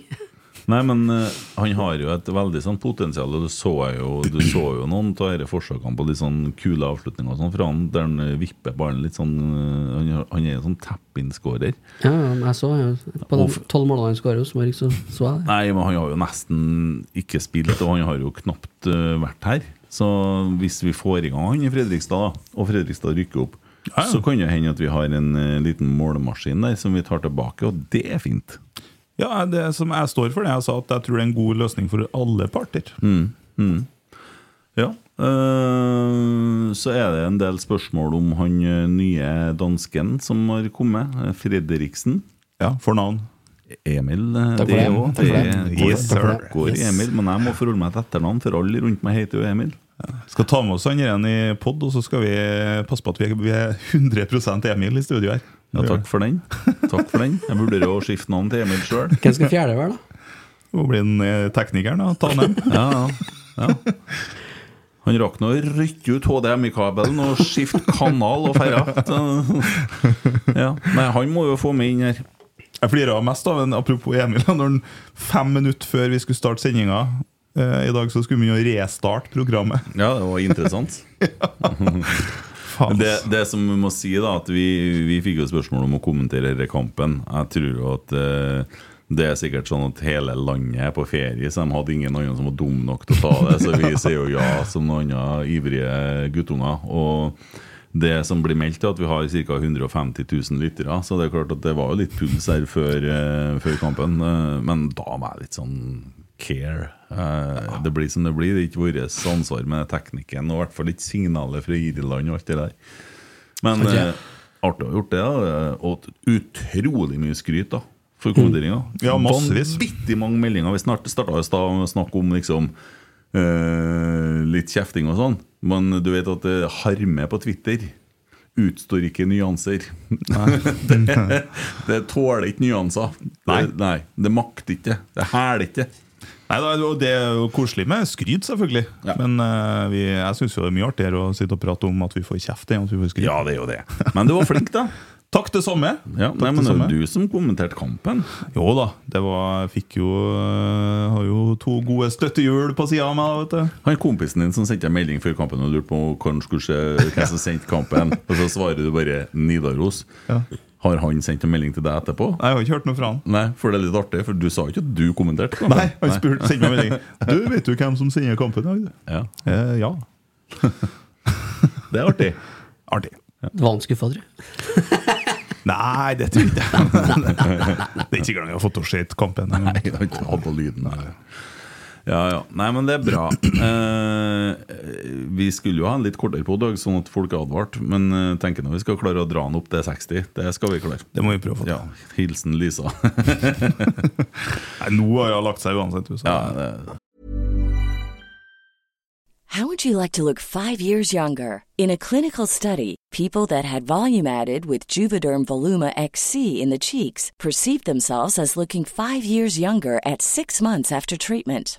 Nei, men eh, han har jo et veldig sånn potensial, og du så jo, du så jo noen av disse forsøkene på litt sånn kule avslutninger og sånn fra han, der han eh, vipper ballen litt sånn eh, Han, har- han er en sånn tapp-in-skårer. Ja, ja, men jeg så jo På de tolv målene han skåra hos Mark, så så jeg det. Nei, men han har jo nesten ikke spilt, og han har jo knapt eh, vært her. Så hvis vi får i gang han i Fredrikstad, da, og Fredrikstad rykker opp, så kan det hende at vi har en eh, liten målemaskin der som vi tar tilbake, og det er fint. Ja, det som jeg står for det jeg sa, at jeg tror det er en god løsning for alle parter. Mm. Ja. eh, så er det en del spørsmål om han eh, nye dansken som har kommet, eh, Fredriksen. Ja, for navn. Emil eh, Takk for det, det. er jo- Takk for det det. er- Takk Yes, for det. sir. Går Yes. Emil, men jeg må forholde meg til etternavn, for alle rundt meg heter jo Emil. Skal ta med oss han igjen i pod, og så skal vi passe på at vi er, vi er 100 Emil i studio her. Ja, takk for den. Takk for den Jeg vurderer å skifte navn til Emil sjøl. Hvem skal fjerde være, da? Nå blir han eh, teknikeren, da. Ta han hjem. Ja, ja, ja. Han rakk nå å rykke ut HDMI-kabelen og skifte kanal og feire. Ja. Nei, han må jo få meg inn her. Jeg flirer av mest av en apropos Emil. Når han fem minutter før vi skulle starte sendinga eh, i dag, så skulle vi jo restarte programmet. Ja, det var interessant. Faen. Det, det som vi må si da At vi, vi fikk jo spørsmål om å kommentere denne kampen Jeg tror jo at eh, Det er sikkert sånn at hele landet er på ferie Så de hadde ingen andre som var dum nok til å ta det Så vi sier jo ja som noen andre ivrige guttunger Og det som blir meldt er at vi har ca. 150 000 lyttere Så det er klart at det var jo litt puls her før, eh, før kampen eh, Men da var jeg litt sånn care Eh, Det blir som det blir, det er ikke vårt ansvar med teknikken Og i hvert fall ikke signalet fra Irland og alt det der men Takk, ja. eh, artig å ha gjort det, da. og utrolig mye skryt da for kommenteringa. Mm. Ja, massevis. Vanvittig mange meldinger. Vi snart starta i stad med å snakke om liksom eh, litt kjefting og sånn, men du vet at eh, harme på Twitter utstår ikke nyanser. det, det tåler ikke nyanser. Nei. Det, nei, det makter ikke. Det hæler ikke. Nei, da, og Det er jo koselig med skryt, selvfølgelig. Ja. Men eh, vi, jeg syns det er mye artigere å sitte og prate om at vi får kjeft enn at vi får skryt. Ja, det er jo det. Men du var flink, da. Takk det samme! Ja, nei, Takk det men det samme. er jo du som kommenterte kampen. Jo da, det var, jeg fikk jo eh, Har jo to gode støttehjul på sida av meg. vet du Han kompisen din som sendte deg melding før kampen og lurte på hva han skulle se, hvem som sendte kampen, og så svarer du bare 'Nidaros'. Ja. Har han sendt en melding til deg etterpå? Jeg har ikke hørt noe fra han. Nei, for det er litt artig, for du sa jo ikke at du kommenterte. kampen. Nei, han spurte, sendte meg melding. Du, vet du hvem som sender kampen i dag? du?» Ja, Eh, ja. Det er artig. Artig. Det var han skuffa, tror jeg. Nei, det tror jeg ikke. det er ikke engang jeg har fått å se kampen. Nei, jeg har ikke hatt på lyden. Eller. Ja, ja. Nei, men det er bra. Eh, vi skulle jo ha en litt kortere på dag, sånn at folk er advart. Men eh, tenker nå vi skal klare å dra den opp til 60. Det skal vi klare. Det må vi prøve å få til. Ja, Hilsen Lisa. Nei, Nå har hun lagt seg uansett. du, så- Ja, det, How would you like to look five years younger? In a clinical study, people that had volume added with Juvederm Voluma XC in the cheeks perceived themselves as looking five years younger at six months after treatment.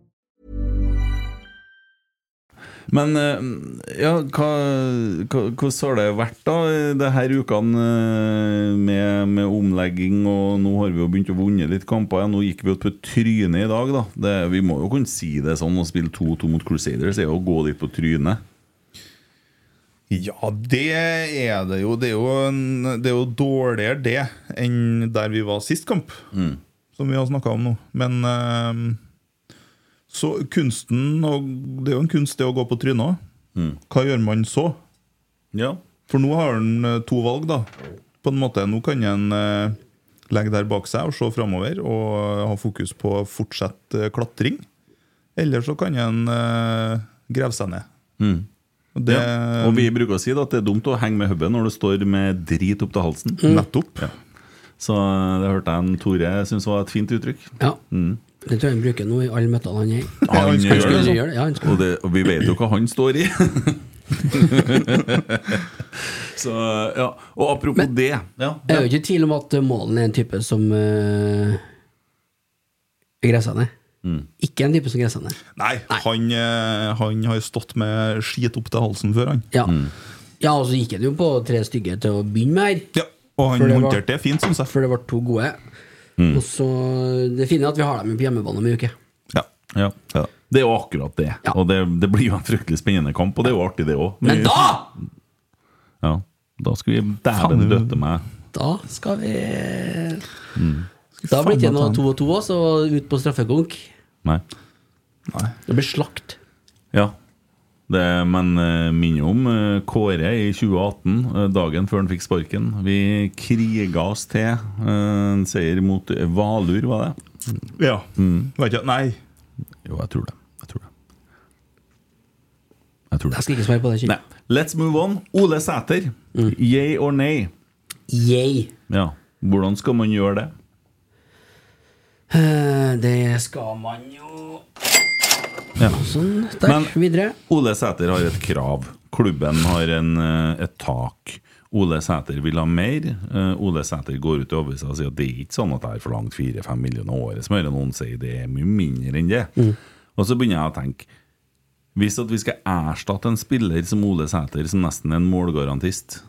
Men eh, ja, hva, hva, hvordan har det vært da det her ukene eh, med, med omlegging? Og nå har vi jo begynt å vunne litt kamper igjen. Nå gikk vi jo på trynet i dag, da. Det, vi må jo kunne si det sånn. Å spille 2-2 mot Crusaders er jo å gå litt på trynet. Ja, det er det jo. Det er jo, en, det er jo dårligere det enn der vi var sist kamp, som vi har snakka om nå. Men eh, så kunsten og Det er jo en kunst, det å gå på trynet òg. Hva gjør man så? Ja. For nå har han eh, to valg, da. På en måte, Nå kan han eh, legge der bak seg og se framover og eh, ha fokus på å fortsette eh, klatring. Eller så kan han eh, grave seg ned. Og det ja. Og vi bruker å si da, at det er dumt å henge med hubben når du står med drit opp til halsen. Mm. Nettopp. Så eh, det hørte jeg en Tore syntes var et fint uttrykk. Ja. Mm. Det tror jeg han bruker nå i alle møtene han er i. Han skulle gjør det, Han sånn. gjør det, ja, han skal. og, det, og vi vet jo hva han står i. Så ja, Og apropos det ja, Jeg er jo ikke i tvil om at eh, Målen er en type som uh, gresser ned. Mm. Ikke en type som gresser ned. Nei, Han, eh, han har jo stått med skit opp til halsen før, han. Ja. Mm. ja, og så gikk det jo på tre stygge til å begynne med her. Ja, Og han For det var- håndterte det fint, syns jeg. For det ble to gode. Mm. Og så Det fine er at vi har dem på hjemmebane om en uke. Ja. ja. Det er jo akkurat det. Ja. Og det, det blir jo en fryktelig spennende kamp, og det er jo artig, det òg. Men da! ja, da skal vi dæven døtte meg. Da skal vi Da blir det ikke noe to og to også, og ut på straffekonk. Nei. Det blir slakt. Ja. Det, men eh, minner om eh, Kåre i 2018, eh, dagen før han fikk sparken. Vi kriga oss til eh, en seier mot Valur, var det? Ja. Vet ikke, nei. Jo, jeg tror det. Jeg tror det. Jeg tror Jeg det. skal ikke svare på det. Nei. Mm. Kjell. Let's move on. Ole Sæter. Yay or nay? Yay. Ja. Hvordan skal man gjøre det? Eh, Det skal man jo Ja. Sånn. Der. Men- Videre. Ole Sæter har et krav. Klubben har en, eh, et tak. Ole Sæter vil ha mer. Eh, Ole Sæter går ut i avisa og sier at det er ikke sånn at jeg har forlangt 4-5 millioner året. Som hører noen si det er mye mindre enn det. Og så begynner jeg å tenke. Hvis at vi skal erstatte en spiller som Ole Sæter, som nesten er en målgarantist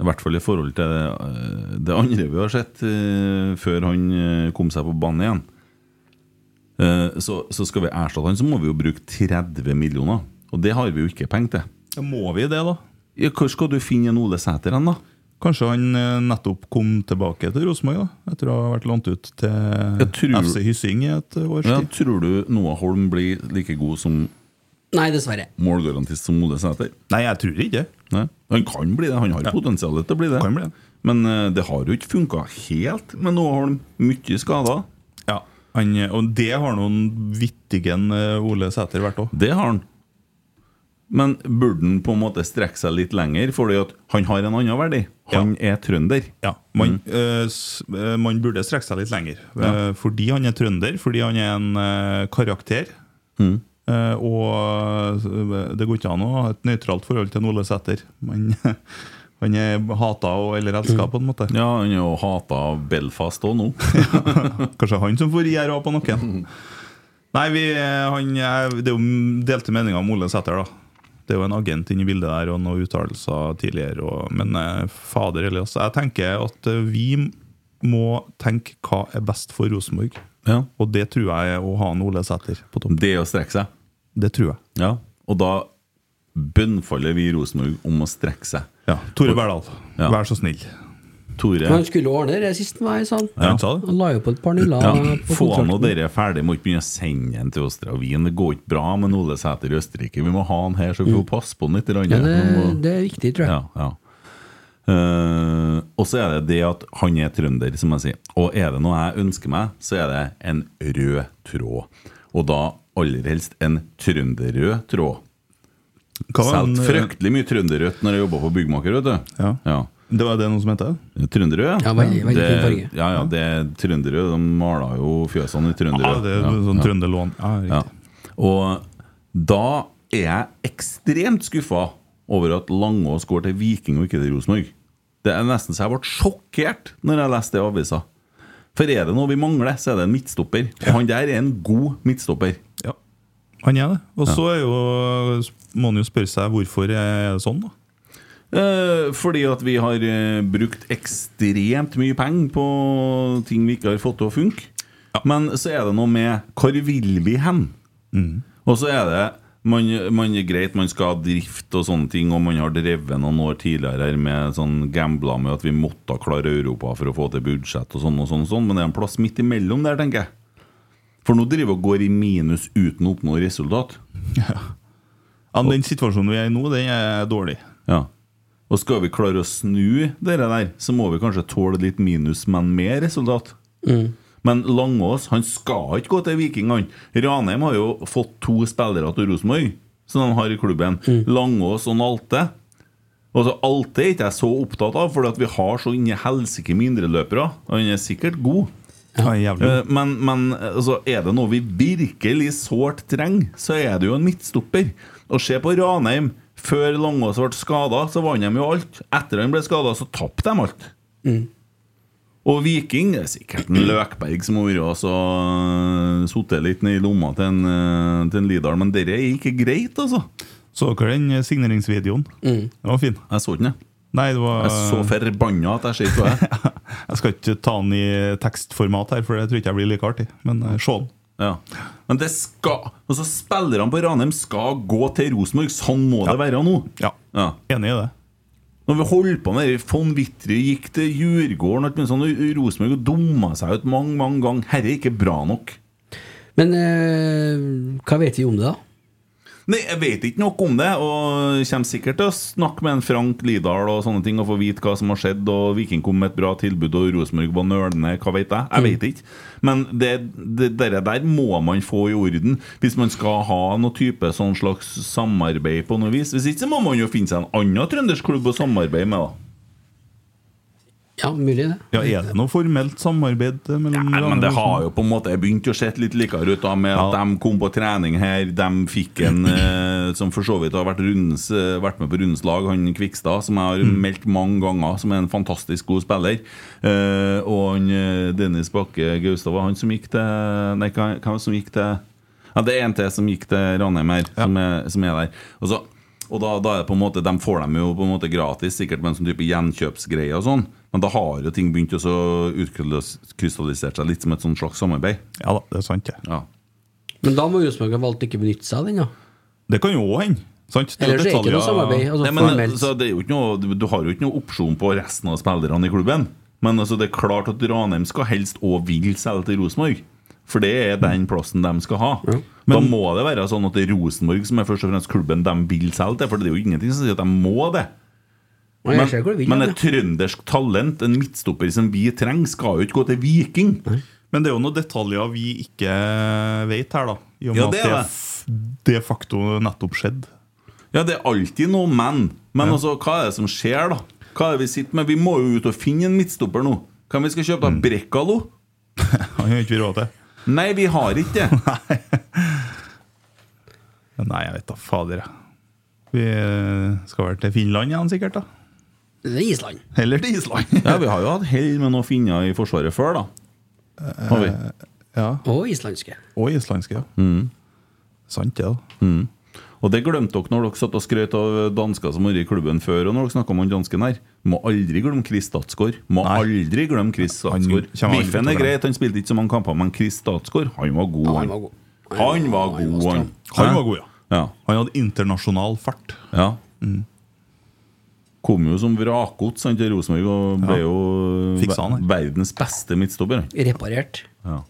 i hvert fall i forhold til det, eh, det andre vi har sett eh, før han eh, kom seg på banen igjen. Eh, så, så skal vi erstatte han, så må vi jo bruke 30 millioner. Og det har vi jo ikke penger til. Ja, Må vi det, da? Ja, Hvor skal du finne en Ole Sæter hen, da? Kanskje han eh, nettopp kom tilbake til Rosenborg, da? Etter å ha vært lånt ut til Jeg tror- FC Hyssing i et eh, års Ja, tid. tror du Noah Holm blir like god som Nei, dessverre. målgarantist som Ole Sæter? Nei, jeg tror ikke det. Nei. Han kan bli det, han har potensialet til å bli det. Kan bli det. Men eh, det har jo ikke funka helt med Noah Holm. Mye skader. Ja. Han, eh, og det har noen vittigen eh, Ole Sæter vært òg. Det har han. Men burde han på en måte strekke seg litt lenger, fordi at han har en annen verdi? Han er trønder. Ja, man, eh, s- eh, man burde strekke seg litt lenger. Eh, fordi han er trønder, fordi han er en eh, karakter. Eh, og eh, det går ikke an å ha et nøytralt forhold til en Ole Sæther. Man- Han er hata og eller elska, på en måte. Ja, han er jo hata av Belfast òg nå. Kanskje han som får IRA på noen. Nei, vi, eh, han, er- Det er jo delte meninger om Ole Sæther, da. Det er jo en agent inne i bildet der, og noen uttalelser tidligere. Og, men eh, fader Elias, jeg tenker at eh, vi må tenke hva er best for Rosenborg. Ja. Og det tror jeg er å ha en Ole Sæther på topp. Det å strekke seg. Det tror jeg. Ja. Og da bønnfaller vi i Rosenborg om å strekke seg. Ja, Tore Berdal, Ja. vær så snill. Tore, Han skulle ordne det sist han var her, sa han. Ja, han sa det. Han la jo på et par nuller. ja, på få nå kontrakten. dere ferdig. Må ikke begynne å sende en til Østravien. Det går ikke bra med en Ole Sæter i Østerrike. Vi må ha han her, så vi får passe på han litt. Mm. Ja, det, Vi må- det er viktig, tror jeg. Ja, ja. Eh, og så er det det at han er trønder, som jeg sier. Og er det noe jeg ønsker meg, så er det en rød tråd. Og da aller helst en trønderrød tråd. Hva var den, Solgte eh, fryktelig mye trønderrødt når jeg jobba på byggmaker, vet du. Ja. Ja. Det var det noen som het det? Trønderrød? Ja, veldig- veldig fin farge. Det- Ja, ja, det er trønderrød. De mala jo fjøsene i trønderrød. Ja, det er sånn ja. trønderlån. Ja, riktig. Ja. Og da er jeg ekstremt skuffa over at Langås går til Viking og ikke til Rosenborg. Det er nesten så jeg ble sjokkert når jeg leste det i avisa. For er det noe vi mangler, så er det en midtstopper. Og han der er en god midtstopper. Ja. Han er det. Og så er jo, må han jo spørre seg hvorfor er det sånn, da. Eh, fordi at vi har eh, brukt ekstremt mye penger på ting vi ikke har fått til å funke. Men så er det noe med hvor vil vi hen? Og så er det Man, man er greit, man skal ha drift og sånne ting, og man har drevet noen år tidligere her med sånn gambla med at vi måtte klare Europa for å få til budsjett og sånn, og sånn, og sånn men det er en plass midt imellom der, tenker jeg. For nå driver og går i minus uten å oppnå resultat. Ja, men den situasjonen vi er i nå, den er dårlig. Ja. Og skal vi klare å snu det der, så må vi kanskje tåle litt minus, men med resultat. Men Langås han skal ikke gå til Viking. han. Ranheim har jo fått to spillere til Rosenborg, som de har i klubben. Langås og Nalte. Altså, Alte er ikke jeg så opptatt av, fordi at vi har så inni helsike med indreløpere. Han er sikkert god. Ja, jævlig. Eh, Men, men altså, er det noe vi virkelig sårt trenger, så er det jo en midtstopper. Og se på Ranheim. Før Langås ble skada, så vant de jo alt. Etter han ble skada, så tapte de alt. Og Viking det er sikkert en Løkberg som har vært og sittet litt ned i lomma til en, eh, til en Lidal, men dette er ikke greit, altså. Så dere den eh, signeringsvideoen? Den var fin. Jeg så den, jeg. Nei, det var Jeg er så forbanna at jeg ser ikke hva jeg er. Jeg skal ikke ta den i tekstformat her, for det tror jeg ikke jeg blir like artig. Men eh, se den. Ja. Men det skal Og så spillerne på Ranheim skal gå til Rosenborg. Sånn må det være nå. Ja. Ja. Enig i det. Når vi holdt på med det, von Wittry gikk til Djurgården og alt mulig sånn, og Rosenborg og dumma seg ut mange mange ganger. Herre er ikke bra nok. Men eh, hva vet vi om det, da? Nei, Jeg vet ikke nok om det, og kommer sikkert til å snakke med en Frank Lidahl og sånne ting og få vite hva som har skjedd, og Viking kom med et bra tilbud, og Rosenborg var nølende, hva vet jeg? Jeg vet ikke. Men det, det dere der må man få i orden hvis man skal ha noe type sånn slags samarbeid på noe vis. Hvis ikke så må man jo finne seg en annen trøndersk klubb å samarbeide med, da. Ja, mulig det. Ja, Er det noe formelt samarbeid eh, mellom Nei, men det sånn. har jo på en måte begynt å se litt likere ut da med at de kom på trening her. De fikk en eh, som for så vidt har vært, rundens, eh, vært med på rundens lag, han Kvikstad, som jeg har meldt mange ganger, som er en fantastisk god spiller. Eh, og han eh, Dennis Bakke Gaustad var han som gikk til Nei, hva hva som gikk til Ja, det er en til som gikk til Ranheim her, som, er, som er der. Og så og da, da er det på en måte, De får dem jo på en måte gratis, sikkert med en sånn type gjenkjøpsgreie. og sånn Men da har jo ting begynt å så utkrystallisere seg litt som et sånn slags samarbeid. Ja da, det er sant, det. Ja. Men da må Rosenborg ha valgt ikke å benytte seg av den, da. Det kan jo òg hende. Sant? Det er Ellers er det ikke detaljer- noe samarbeid. Altså, Nei, men, formelt. så det er jo ikke noe, du- du har jo ikke noe opsjon på resten av spillerne i klubben. Men altså, det er klart at Ranheim skal helst og vil selge til Rosenborg. For det er den plassen de skal ha. da må det være sånn at det er Rosenborg som er først og fremst klubben de vil selge til. For det er jo ingenting som sier at de må det. Og jeg ser hvor du vil, men ja. et trøndersk talent, en midtstopper som vi trenger, skal jo ikke gå til Viking. Men det er jo noen detaljer vi ikke vet her, da. I og med Ja, det at er det f- de facto nettopp skjedde. Ja, det er alltid noe men. Men altså, hva er det som skjer, da? Hva er det vi sitter med? Vi må jo ut og finne en midtstopper nå. Hvem vi skal kjøpe, Mm. da? Brekkalo? Han har ikke vi råd til. Nei, vi har ikke det. Men Nei, jeg vet da fader. jeg. Vi skal vel til Finland igjen, sikkert. da Det er Island. Eller til Island. Ja, vi har jo hatt hell med noen finner i Forsvaret før, da. Har Eh. vi. Og islandske. Og islandske, ja. Mm. Sant, det. da Og det glemte dere når dere satt og skrøt av dansker som har vært i klubben før, og når dere snakka om han dansken her. Må aldri glemme Chris Statsgaard. Må Nei. aldri glemme Chris Han Statsgaard. kommer aldri Biffen til å er glemme. greit, han spilte ikke så mange kamper, men Chris Statsgaard, han var god, han han. var god. Han var god, han. Han var god, ja. Ja. Han hadde internasjonal fart. Ja. Mm. Kom jo som vrakgods han, til Rosenborg og ble jo Fiksa han, ver- verdens beste midtstopper. han. Reparert. Ja.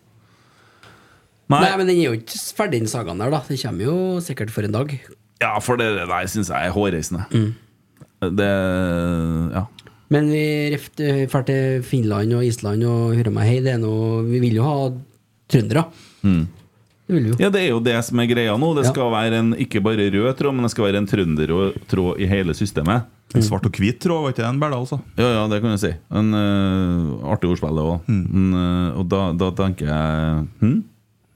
Nei, Nei, men den er jo ikke ferdig, den sagaen der, da. Den kommer jo sikkert for en dag. ja, for det det der syns jeg er hårreisende. Mm. Det Ja. Men vi drar til Finland og Island og hører meg hei, det er noe Vi vil jo ha trøndere. Mm. Det vil vi jo. ja, det er jo det som er greia nå. Det Ja. skal være en ikke bare rød tråd, men det skal være en trøndertråd i hele systemet. En svart og hvit tråd, var ikke det en bæla, altså? Ja, ja, det kan du si. En eh, artig ordspill, det òg. og da, da tenker jeg hm?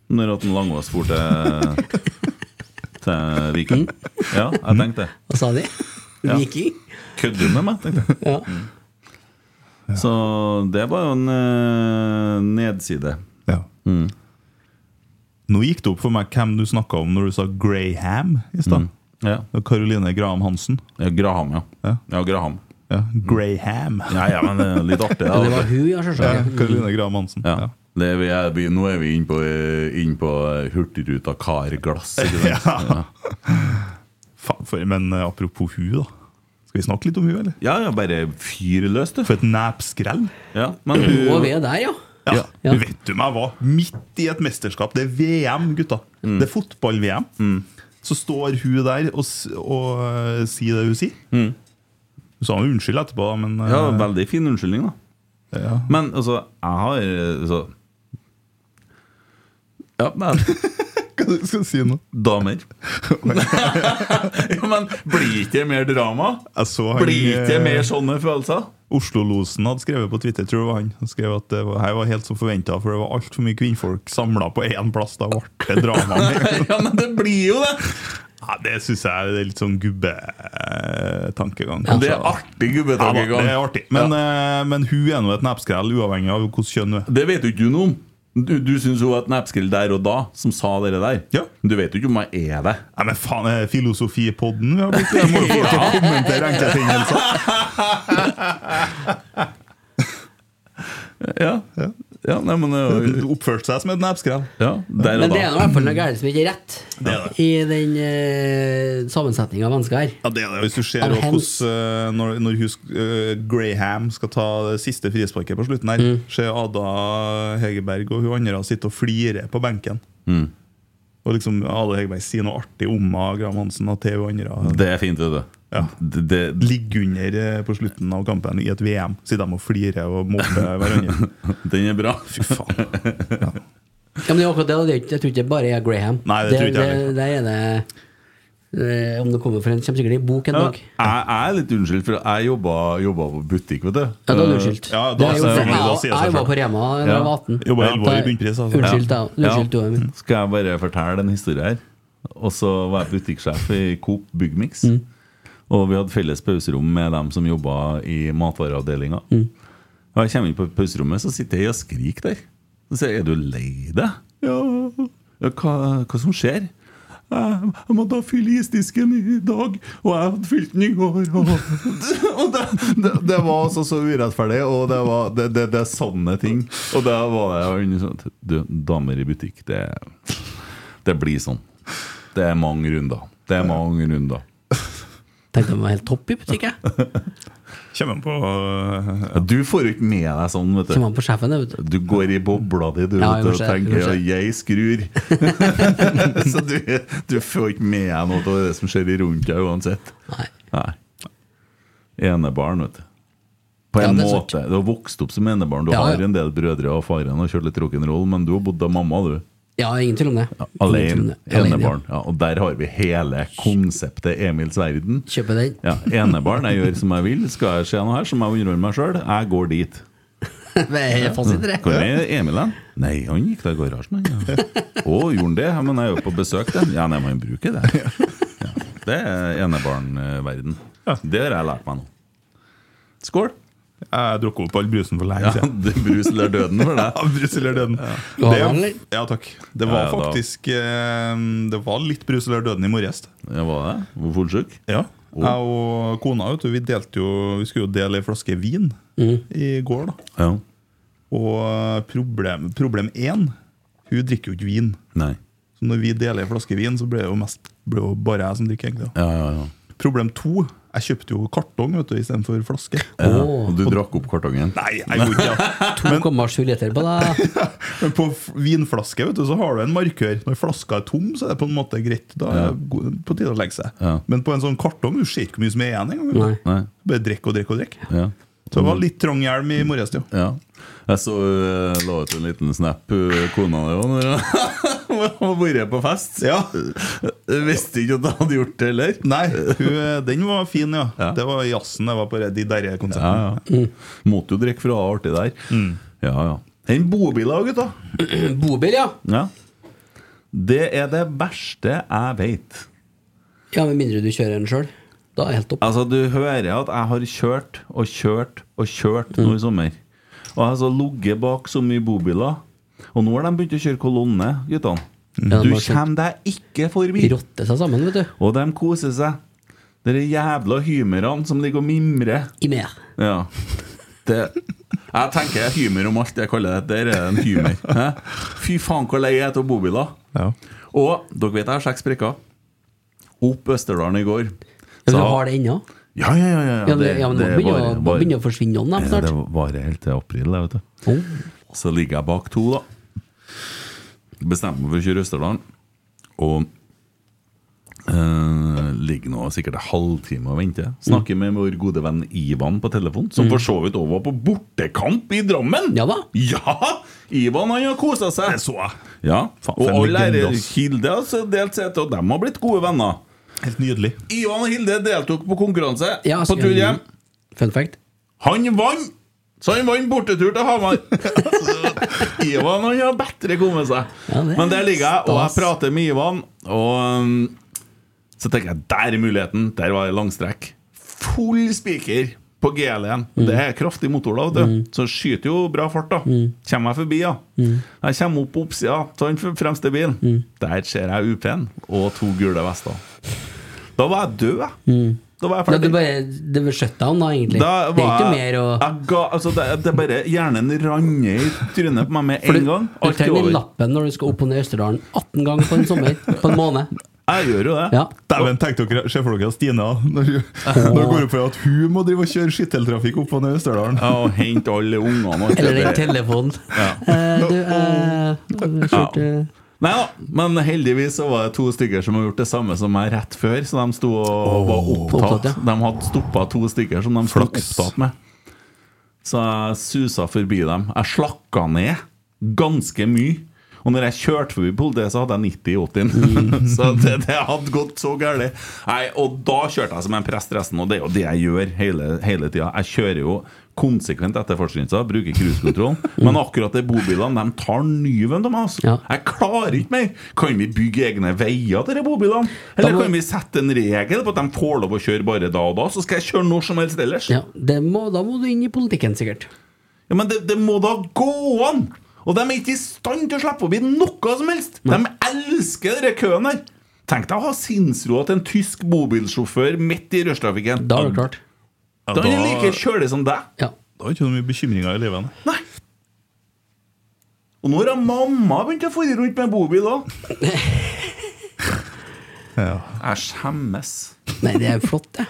Når at en Langås for til, til Viking. Ja, jeg tenkte det. Hva sa de? Viking? Kødder du med meg? tenkte jeg. Ja. Så det var jo en eh, nedside. Ja. Nå gikk det opp for meg hvem du snakka om når du sa Graham i Mm. stad. Ja. Det var Caroline Graham Hansen. ja Graham, ja. Ja. Ja, Graham. Ja, Graham. Ja, ja, men det er litt artig. Ja, det da. var hun, ja, Ja, selvsagt. Caroline Graham Hansen. Ja. Ja. Det er vi, er vi, nå er vi inne på, eh, inn på eh, Hurtigruta Karglass. ikke sant? Ja. Faen, for, men eh, apropos hun, da. Skal vi snakke litt om hun, eller? Ja, ja, bare fyr løs, du. For et næpskrell. Ja, men Nå er hun vi der, ja. Ja. Ja. Vet du meg hva? Midt i et mesterskap. Det er VM, gutta. Mm. Det er fotball-VM. Så står hun der og, s- og eh, sier det hun sier. Hun sa unnskyld etterpå, men Mm. eh, Ja, veldig fin unnskyldning, da. ja. Men altså, jeg har eh, altså, Ja, men Hva skal du si nå? damer. ja, men blir ikke det mer drama? Jeg så han, Blir ikke det eh, mer sånne følelser? Oslo-losen hadde skrevet på Twitter, tror jeg det var han. Han skrev at det var, her var helt som forventa, for det var altfor mye kvinnfolk samla på én plass. Da ble det drama. ja, men det blir jo det! ja, det syns jeg er litt sånn gubbetankegang. Det er artig Ja, da, det er gubbetankegang. artig. Men, eh, men hun er nå et nepskrell, uavhengig av hvordan kjønn hun er. Det vet jo ikke du noe om. Du, du syns hun var et nepskrill der og da, som sa det der. Ja. Men du vet jo ikke om jeg er det. Nei, men faen, er det filosofipodden vi har blitt? Jeg må jo få lov til å kommentere Altså, enkelthendelser. Ja, ja. nei, men Hun eh, Oppførte seg som et nepskrell. ja, Der Men og det er da. nå i hvert fall noe gærent som ikke er rett Det er det. i den uh, sammensetninga av mennesker her. Ja, det er det. Hvis du ser Av også hens. hvordan, eh, når, når hus, eh, Graham skal ta det siste frisparket på slutten her, Mm. ser Ada Hegerberg og hun andre sitte og flire på benken. Og liksom Ada Hegerberg sier noe artig om av Graham Hansen og til hun andre Det er fint, vet du. Ja. Det, det, ligger under eh, på slutten av kampen i et VM. Sitter de og flirer og mobber hverandre. den er bra. Fy faen. Ja, men det er akkurat det, og det er ikke- jeg tror ikke det bare er Graham. Nei, det tror ikke jeg heller. det, det er det eh, Om det kommer fra en kommer sikkert i bok en Ja, dag. jeg, jeg er litt unnskyldt, for jeg jobba, jobba på butikk, vet du. Ja, da er du unnskyldt. ja, da Det er jo- sier jeg- jeg- da sier jeg jeg seg jobba selv. på Rema da jeg Ja. var 18. Jobba Ja, elleve år i da- bunnpris, altså. Mm. Unnskyld, da. Ja. Unnskyld, du er min. Skal jeg bare fortelle en historie her? Og så var jeg butikksjef i Coop Byggmix. Mm. Og vi hadde felles pauserom med dem som jobba i matvareavdelinga. Mm. Og jeg kommer inn på pauserommet, så sitter jeg og skriker der. Så sier jeg 'Er du lei deg?' Ja. ja hva, hva som skjer? Jeg jeg måtte ha fylle isdisken i dag, og jeg hadde fylt den i går. Og, og det, det, det var altså så urettferdig, og det, var, det, det, det er sanne ting. Og det var det jeg var inne i sånn Du, damer i butikk, det, det blir sånn. Det er mange runder. Det er mange runder. Tenkte jeg var helt topp i butikk, jeg. Kommer han på eh, Du får jo ikke med deg sånn, vet Som du. han på sjefen, det, vet du. Du går i bobla di du, Ja, vet du, og kanskje, tenker kanskje. at 'jeg skrur'. så du, du får ikke med deg noe av det som skjer rundt deg uansett. Nei. Nei. Enebarn, vet du. På Ja, en det er sant. måte. Du har vokst opp som enebarn. Du Ja, ja. har en del brødre og faren og kjørt litt rock'n'roll, men du har bodd av mamma, du. Ja, ingen tvil om det. Ingen tvil om Alene. det. Alene, ja. Enebarn. Ja, og der har vi hele konseptet Emils verden. Kjøper den. Ja, Enebarn. Jeg gjør som jeg vil. Skal jeg se noe her, så må jeg underholde meg sjøl. Jeg går dit. Det er helt fasit, det. Hvor er Emil hen? Nei, han gikk da i garasjen. han, ja. Å, gjorde han det? Ja, Men jeg er jo på besøk, den. Ja, nei, man bruker det. Ja. Det er enebarnverden. Det har jeg lært meg nå. Skål! Jeg drukket opp all brusen for lenge Ja, siden. det- Brus eller døden for deg. Ja, brus eller døden. Du har Det- den, eller? ja, takk. Det Ja, var ja, da. faktisk eh, Det var litt brus eller døden i morges. Ja, var det? Hvor fort syk? Ja. Jeg og kona vet du, vi delte jo Vi skulle jo dele ei flaske vin Mm. i går, da. Ja. Og eh, problem, problem én Hun drikker jo ikke vin. Nei. Så når vi deler ei flaske vin, så ble det jo mest ble jo bare jeg som drikker. egentlig da. Ja, ja, ja. Problem to jeg kjøpte jo kartong vet du, istedenfor flaske. ja. Og du drakk opp kartongen? Nei, jeg gjorde ikke det. 2,7 liter på deg. Men på f- vinflaske vet du, så har du en markør. Når flaska er tom, så er det på en måte greit. Da er det go- på tide å legge seg. Ja. Men på en sånn kartong du ser ikke hvor mye som er igjen engang. Nei. Nei. Mm. Bare drikk og drikk og drikk. Ja. Så det var litt trang hjelm i morges. jo. ja. Jeg så uh, la ut en liten snap, uh, kona di òg, når hun har vært på fest. Ja. Jeg Visste ikke at jeg hadde gjort det heller. Nei, hun, eh, den var fin, ja. Ja. Det var jazzen jeg var på de der Ja, konsertene. ja. Måtte jo drikke for å ha artig der. Ja, ja. Den bobilen, gutta. Bobil, ja. Ja. Det er det verste jeg veit. Ja, Med mindre du kjører den sjøl. Da er det helt topp. Altså, du hører at jeg har kjørt og kjørt og kjørt nå i sommer. Og jeg har så ligget bak så mye bobiler. Og nå har de begynt å kjøre kolonne, guttene. Ja, Du de har kjørt- kommer deg ikke forbi. Rotter seg sammen, vet du. Og de koser seg. De jævla hymerne som ligger og mimrer. I mer. Ja. Det Jeg tenker hymer om alt jeg kaller det. Der er det en hymer. Hæ? Fy faen, hvor lei jeg er av bobiler. Ja. Og dere vet jeg har seks prikker. Opp Østerdalen i går. Ja, Så- du har det ennå? Ja, ja, ja. ja, Ja, men- ja, men nå det begynner varer- å- varer- begynner å forsvinne noen da, Ja, snart. det varer helt til april, det, vet du. Oh. Så ligger jeg bak to, da. Bestemte meg for å kjøre Østerdalen. Og eh, ligger nå sikkert en halvtime og venter. Snakker med vår gode venn Ivan på telefon, som for så vidt òg var på bortekamp i Drammen! Mm. Ja da. Ja! Ivan han har kosa seg. Det så jeg. Ja, Faen, Og for en alle legende, er ass. Hilde har altså delt seg til, og dem har blitt gode venner. Helt nydelig. Ivan og Hilde deltok på konkurranse Ja, altså, på skal- tur hjem. Fun fact. Han vant! Så han vant bortetur til Hamar. Altså, Ivan han har bedre kommet seg. Ja, det er Men der ligger jeg, og jeg stas. prater med Ivan, og um, så tenker jeg der er muligheten. Der var det langstrekk. Full spiker på GL1. Mm. Det er kraftig motor, da. vet du. Så skyter jo bra fart, da. Mm. Kommer jeg forbi, ja. Jeg kommer opp på oppsida av den fremste bilen. Mm. Der ser jeg UP-en og to gule vester. Da var jeg død, jeg. Mm. Da var jeg Da, ferdig. det, bare, det var shutdown, da, egentlig. Da det er var ikke jeg- mer å jeg ga, altså det, det er bare Hjernen ranger i trynet på meg med For en du- gang. Du Alt er trenger den over. lappen når du skal opp og ned Østerdalen 18 ganger på en sommer. På en måned. Jeg gjør jo det. Ja. Dæven, tenk dere, Se for dere Stine, da. Når, når det går opp for at hun må drive og kjøre skytteltrafikk opp og ned Østerdalen. Ja, Og hente alle ungene og alt Eller den det der. telefonen. Eh, du, eh, kjørte Nei da, men heldigvis så var det to stykker som har gjort det samme som meg rett før. Så de sto og var Opptatt, opptatt. ja. De hadde stoppa to stykker som de sto Flaks. opptatt med. Så jeg susa forbi dem. Jeg slakka ned ganske mye. Og når jeg kjørte forbi politiet, så hadde jeg 90 i 80-en. så det, det hadde gått så galt. Nei, Og da kjørte jeg som en prest resten, og det er jo det jeg gjør hele, hele tida. Jeg kjører jo konsekvent etterfartsgrensa, bruker cruisekontrollen. men akkurat de bobilene, de tar nyven av meg. altså. Ja. Jeg klarer ikke mer! Kan vi bygge egne veier til de bobilene? Eller Da må- kan vi sette en regel på at de får lov å kjøre bare da og da, så skal jeg kjøre når som helst ellers? ja, det må, da må du inn i politikken, sikkert. Ja, men det, det må da gå an! Og de er ikke i stand til å slippe forbi noe som helst! De elsker den køen her! Tenk deg å ha sinnsroa til en tysk bobilsjåfør midt i rushtrafikken. Da er det klart. Da er han like kjølig som deg. Ja. Da er det ikke noe mye bekymringer i livet. nei. Nei. Og nå har jeg mamma begynt å fore rundt med bobil òg. Jeg skjemmes. Nei, det er flott, det.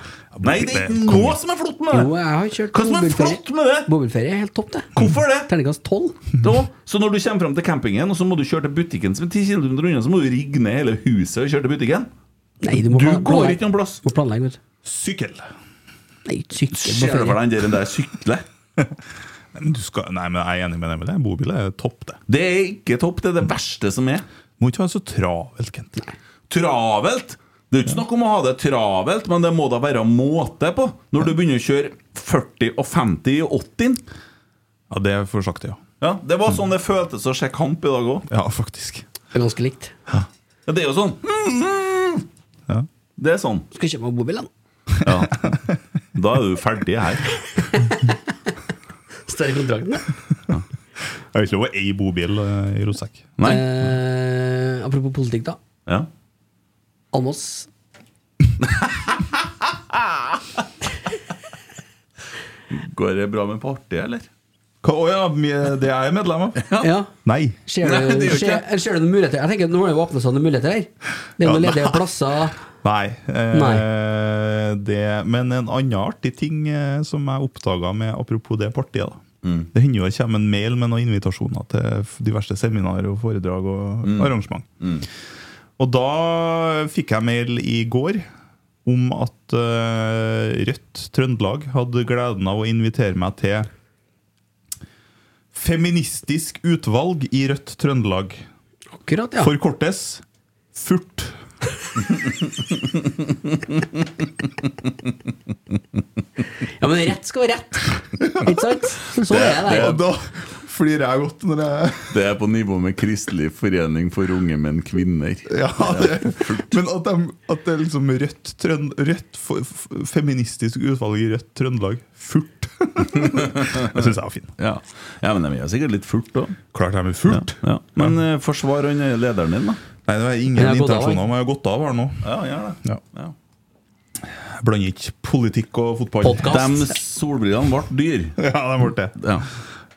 Nei, det er ikke noe som er flott med Jo, det! jeg har kjørt Hva som er flott med det? Bobilferie er helt topp, det. Hvorfor det? Terningkast 12. Da, så når du kommer frem til campingen, og så må du kjøre til butikken som er 10 km unna, så må du rigge ned hele huset og kjøre til butikken? Nei, du må Du plan- går planlegge. ikke noen plass. Må planlegge, vet du. Sykkel. Nei, ikke sykle Ser på du for ferie. deg den der sykle? Nei, men, du skal, nei, men jeg er enig med Emil. det. Bobil er topp, det. Det er ikke topp, det er det verste som er. Må ikke være så travelt, Kent. Travelt! Det er jo ikke snakk om å ha det travelt, men det må da være måte på. Når du begynner å kjøre 40 og 50 i 80 Ja, det er for sakte, ja. ja, Det var sånn det føltes å se kamp i dag òg. Ja, faktisk. Det er ganske likt. Ja, det er jo sånn. Ja. Det er sånn. Skal kjøpe meg bobil, da. Ja. Da er du ferdig her. Står i kontrakten, det. Jeg har ikke lov å eie bobil eh, i rotsekk. Nei? Eh, apropos politikk, da. Ja. Almås. Går det bra med partiet, eller? Hva- Å ja, mi- det er jeg medlem av? Ja. Nei. Ser Nei, det du, gjør ikke ser, det. ser du noen muligheter? Jeg tenker at Nå har det jo åpnet seg noen muligheter her. Det er jo noen Ja, ledige plasser. Nei. Eh, Det, men en annen artig ting eh, som jeg oppdaga med apropos det partiet, da. Det hender jo det kommer en mail med noen invitasjoner til f- diverse seminarer og foredrag og arrangement. Og da fikk jeg mail i går om at eh, Rødt Trøndelag hadde gleden av å invitere meg til Feministisk utvalg i Rødt Trøndelag. Akkurat, ja. Forkortes FURT. ja. Men rett skal være rett. Ikke sant? Sånn er det. Og da flirer jeg godt når jeg Det er på nivå med Kristelig forening for unge menn kvinner. ja, det, Men at, de, at det er liksom rødt, trønd, rødt f- f- feministisk utvalg i Rødt Trøndelag Furt. det syns jeg var fin. Ja, ja men de er sikkert litt furt, da. Klart jeg er furt. Ja. Men eh, forsvar han eh, lederen din, da. Nei, det var Jeg ingen har gått av, intensjoner om jeg har gått av her nå. Ja, gjør det. Ja. Jeg blander ikke politikk og fotball. Podcast. De solbrillene ble dyr. Ja, de ble det. Ja.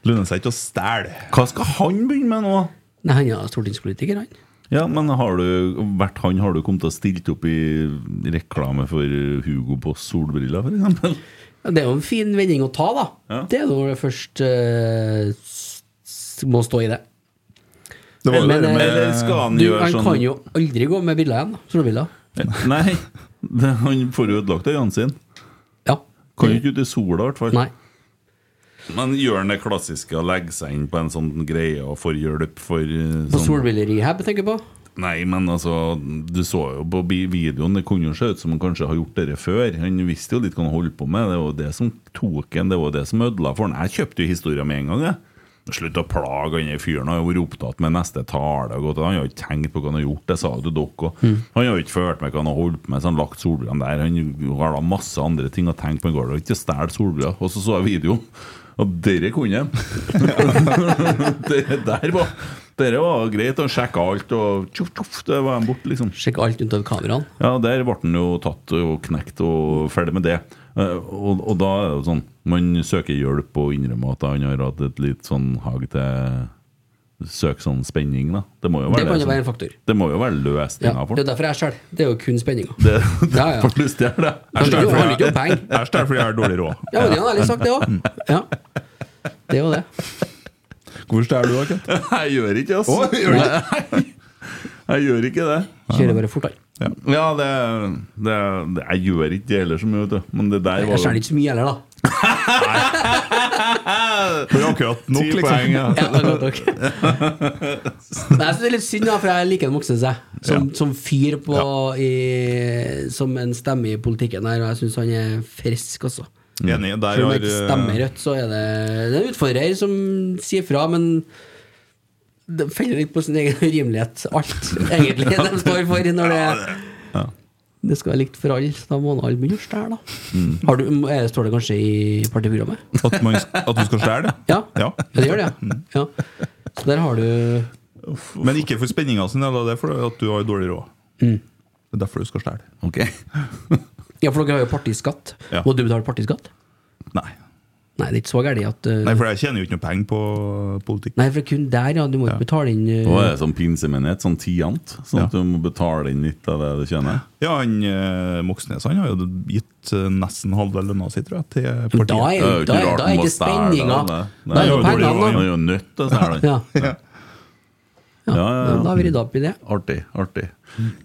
Lønner seg ikke å stjele. Hva skal han begynne med nå? Nei, han er stortingspolitiker, han. Ja, men har du vært han har du kommet til å stilt opp i reklame for Hugo Boss solbriller, for eksempel? Ja, Det er jo en fin vending å ta, da. Ja. Det er jo når det først eh, s- s- må stå i det. Det var jo Men, det eh, Eller skal han Du, gjøre han sånn kan jo aldri gå med briller igjen. da. Solbriller. Nei, det, han får jo ødelagt øynene sine. Ja. Kan jo ikke ut i sola, i hvert fall. Nei. Men gjør han det klassiske å legge seg inn på en sånn greie og får hjelp for eh, På sånn- solbrillerehab, tenker jeg på. Nei, men altså, du så jo på bi- videoen, det kunne jo se ut som han kanskje har gjort det før. Han visste jo litt hva han holdt på med, det var jo det som tok han, det var jo det som ødela for han. Jeg kjøpte jo historien med en gang, jeg. Slutt å plage han der fyren, han har jo vært opptatt med neste tale. og gått- Han har jo ikke tenkt på hva han har gjort, det sa jo til dere òg. Han har jo ikke følt med hva han har holdt på med, så han har lagt solbrillene der. Han har da masse andre ting å tenke på, han går da ikke og stjeler solbriller. Og så så jeg videoen, og dere kunne jeg. det der var Dere var greit å sjekke alt, og tjoff, tjoff, det var de borte, liksom. Sjekke alt unntatt kameraene. Ja, der ble den jo tatt og knekt og ferdig med det. Eh, Og, og da er det jo sånn Man søker hjelp og innrømmer at han har hatt et litt sånn hag til Søk sånn spenning, da. Det må jo Det være, kan jo som- være en faktor. det må jo være Ja, løsninga for det er den. derfor jeg stjeler. Det er jo kun spenninga. Det, det Ja, ja. får du stjele, det. Han liker Jeg jo- stjeler han liker jo penger. Jeg stjeler fordi jeg har dårlig råd. Ja, men det har ærlig sagt, det òg. Ja. Det er jo det. Hvorfor stjeler du, da, Kent? for- Jeg gjør ikke altså. Å, gjør du ikke? Jeg gjør ikke det. Kjører bare fortere. Ja, det, det, det Jeg gjør ikke det heller så mye, vet du. Men det der Jeg var stjeler ikke så mye heller, da. For akkurat nok, Ti liksom. poeng, ja. Ja, det er godt nok. Men jeg synes det er litt synd, da, for jeg liker Moxnes, jeg. Som, som fyr på i, Som en stemme i politikken her, og jeg syns han er frisk, altså. Enig. Der Selv om har jeg ikke stemmer eh, rødt, så er det, det er en utfordrer som sier fra, men det faller litt på sin egen rimelighet, alt egentlig de står for når det Det skal være likt for alle, så da må alle begynne å stjele, da. Har du, er, står det kanskje i partiprogrammet? eh, at, man, at du skal stjele det. Ja, Ja. det gjør det, ja. ja. Så der har du Men ikke for spenninga sin, del, det er fordi at du har dårlig råd. Mm. Det er derfor du skal stjele. Ok. Ja, for dere har jo partiskatt. Ja. Må du betale partiskatt? Nei. Nei, det er ikke så gærent at uh, Nei, for jeg tjener jo ikke noe penger på politikk. Nei, for kun der, ja. Du må ikke betale inn uh, Og er det sånn pinsemenighet, sånn tiant, sånn at du må betale inn litt av det du tjener. Ja, han eh, Moxnes han har jo gitt eh, nesten halve lønna si, tror jeg, til Men partiet. Da er, Det jo da, er, rart da han er må ikke stjele spenninga det. Da er jo det dårlig råd, pengene, Han er jo nødt til å stjele da. Ja. den. Ja. ja, ja. Da har vi rydda opp i det. Artig. artig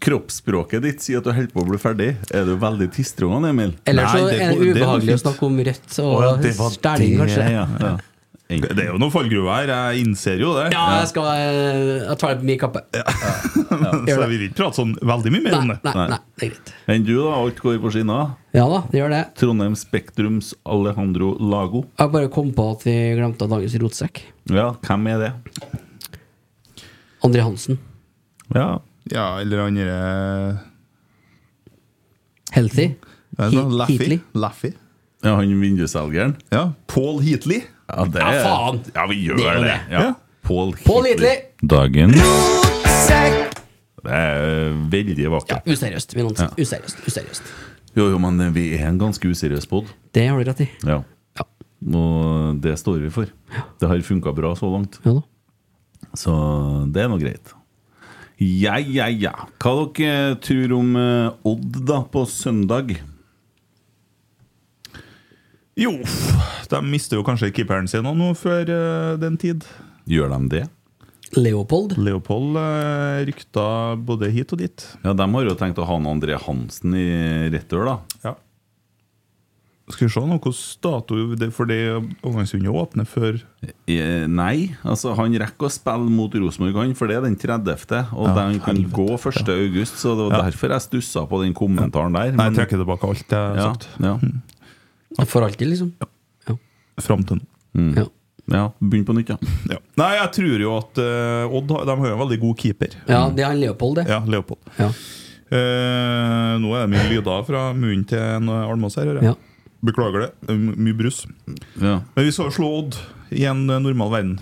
Kroppsspråket ditt sier at du holder på å bli ferdig. Er du veldig tistrungen, Emil? Eller så Nei, det er går- det det går ubehagelig å fint. snakke om rødt og Å, ja, det var stjeling, det, kanskje. Ja, ja. Det er jo noen fallgruver her, jeg innser jo det. Ja, jeg skal eh, Jeg tar det på min kappe. Så jeg vil ikke prate sånn veldig mye mer Nei, om nei, det. nei, Nei. det er greit. Enn du, da? Alt går på skinner? Ja da, det gjør det. Trondheim Spektrums Alejandro Lago. Jeg bare kom på at vi glemte dagens rotsekk. Ja, hvem er det? André Hansen. Ja, Ja, eller han derre Healthy. Heat- sånn Laffy. Heatley. Laffy. ja han vindusselgeren? Ja. Paul Heatley. Ja, det Ja, faen. Ja, vi gjør Det er det. jo det. det. Ja. Ja. Paul Paul Hitley! Dagen Det er øh, veldig Ja, vakkert. useriøst. vil noen si. Useriøst. Useriøst. Jo, jo, men øh, vi er en ganske useriøs pod. Det har du rett i. Ja. Ja. Og det står vi for. Det har funka bra så langt, Ja da. så det er nå greit. Ja, ja, ja. Hva dere tror om eh, Odd da på søndag? Jo, de mister jo kanskje keeperen sin nå, nå før eh, den tid. Gjør de det? Leopold. Leopold uh, rykta både hit og dit. Ja, De har jo tenkt å ha en André Hansen i retur, da. Ja. Skal vi se nå hvordan dato det, For det overgangsrunde åpner før Eh, Nei, altså han rekker å spille mot Rosenborg, han, for det er den 30., og Ja, den kan helvete. gå 1. august, så det var derfor jeg stussa på den kommentaren der. Nei, jeg men- trekker tilbake alt jeg har ja, sagt Hmm. ja, For alltid, liksom. Ja. fram til nå. Ja. ja. Begynn på nytt, ja. Ja. Nei, jeg tror jo at eh, Odd har- de har jo en veldig god keeper. ja, det er han Leopold, det. Ja, Leopold. Ja. Eh, nå er det mye lyder fra munnen til en Almås her. hører jeg. Ja. Beklager det. Det er m- Mye brus. ja. Men vi skal slå Odd i en eh, normal verden.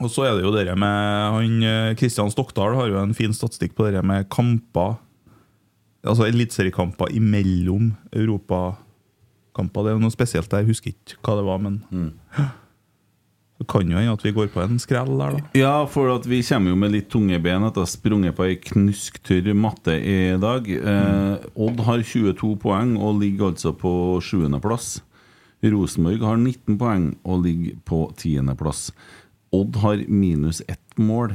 Og så er det jo det med han eh, Kristian Stokdal har jo en fin statistikk på det med kamper Altså eliteseriekamper Mm. imellom europakamper. Det er noe spesielt der, jeg husker ikke hva det var, men Det kan jo hende at vi går på en skrell der, da. Ja, for at vi kommer jo med litt tunge ben etter å ha sprunget på ei knusktørr matte i dag. Hmm. Eh, Odd har 22 poeng og ligger altså på sjuendeplass. Rosenborg har 19 poeng og ligger på tiendeplass. Odd har minus ett mål.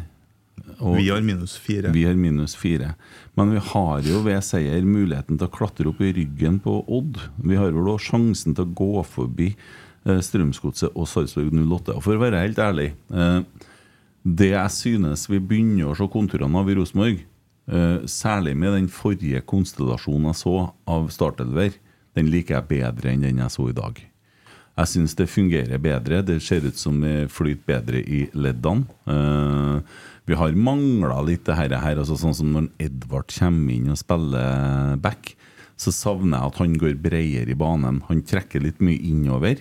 Og Vi har minus fire. vi har minus fire. Men vi har jo ved seier muligheten til å klatre opp i ryggen på Odd. Vi har vel også sjansen til å gå forbi eh, Strømsgodset og Sarpsborg 08. Og for å være helt ærlig eh, Det jeg synes vi begynner å se konturene av i Rosenborg, eh, særlig med den forrige konstellasjonen jeg så av startelver, den liker jeg bedre enn den jeg så i dag. Jeg syns det fungerer bedre. Det ser ut som det flyter bedre i leddene. Eh, vi har mangla litt det her, her altså sånn som når Edvard kommer inn og spiller back. Så savner jeg at han går bredere i banen. Han trekker litt mye innover.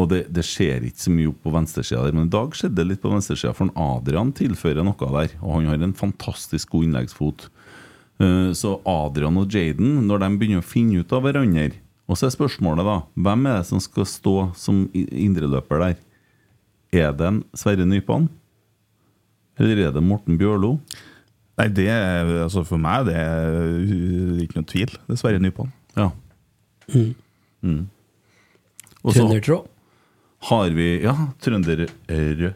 Og det, det skjer ikke så mye opp på venstresida der, men i dag skjedde det litt på venstresida, for han Adrian tilfører noe der. Og han har en fantastisk god innleggsfot. Eh, Så Adrian og Jaden, når de begynner å finne ut av hverandre Og så er spørsmålet, da, hvem er det som skal stå som i- indreløper der? Er det en Sverre Nypan? Eller er det Morten Bjørlo? Nei, det er, altså for meg det er uh, ikke noe tvil. Det er Sverre Nypan. Ja. Mm. Og så Trøndertråd. har vi Ja, trønderrød.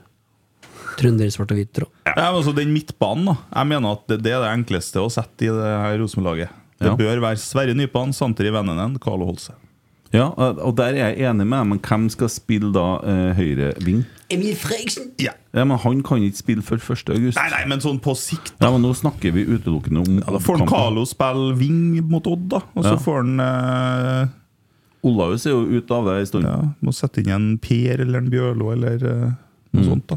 Trønder svart og hvit tråd. Ja. men altså Den midtbanen, da. Jeg mener at det, det er det enkleste å sette i det her Rosenborg-laget. Det Ja. bør være Sverre Nypan, Santeri Vennenen, Carlo Holse. Ja, og der er jeg enig med deg, men hvem skal spille da eh, høyre ving? Emil Fredriksen! Ja. Ja, men han kan ikke spille før 1. august. Nei, nei, men sånn på sikt Ja, men nå snakker vi utelukkende om da får han kampen. Carlo spille wing mot Odd, da. Og så Ja. får han eh, Olaus er jo ute av det en stund. ja, Må sette inn en Per eller en Bjørlo eller eh, noe sånt, da.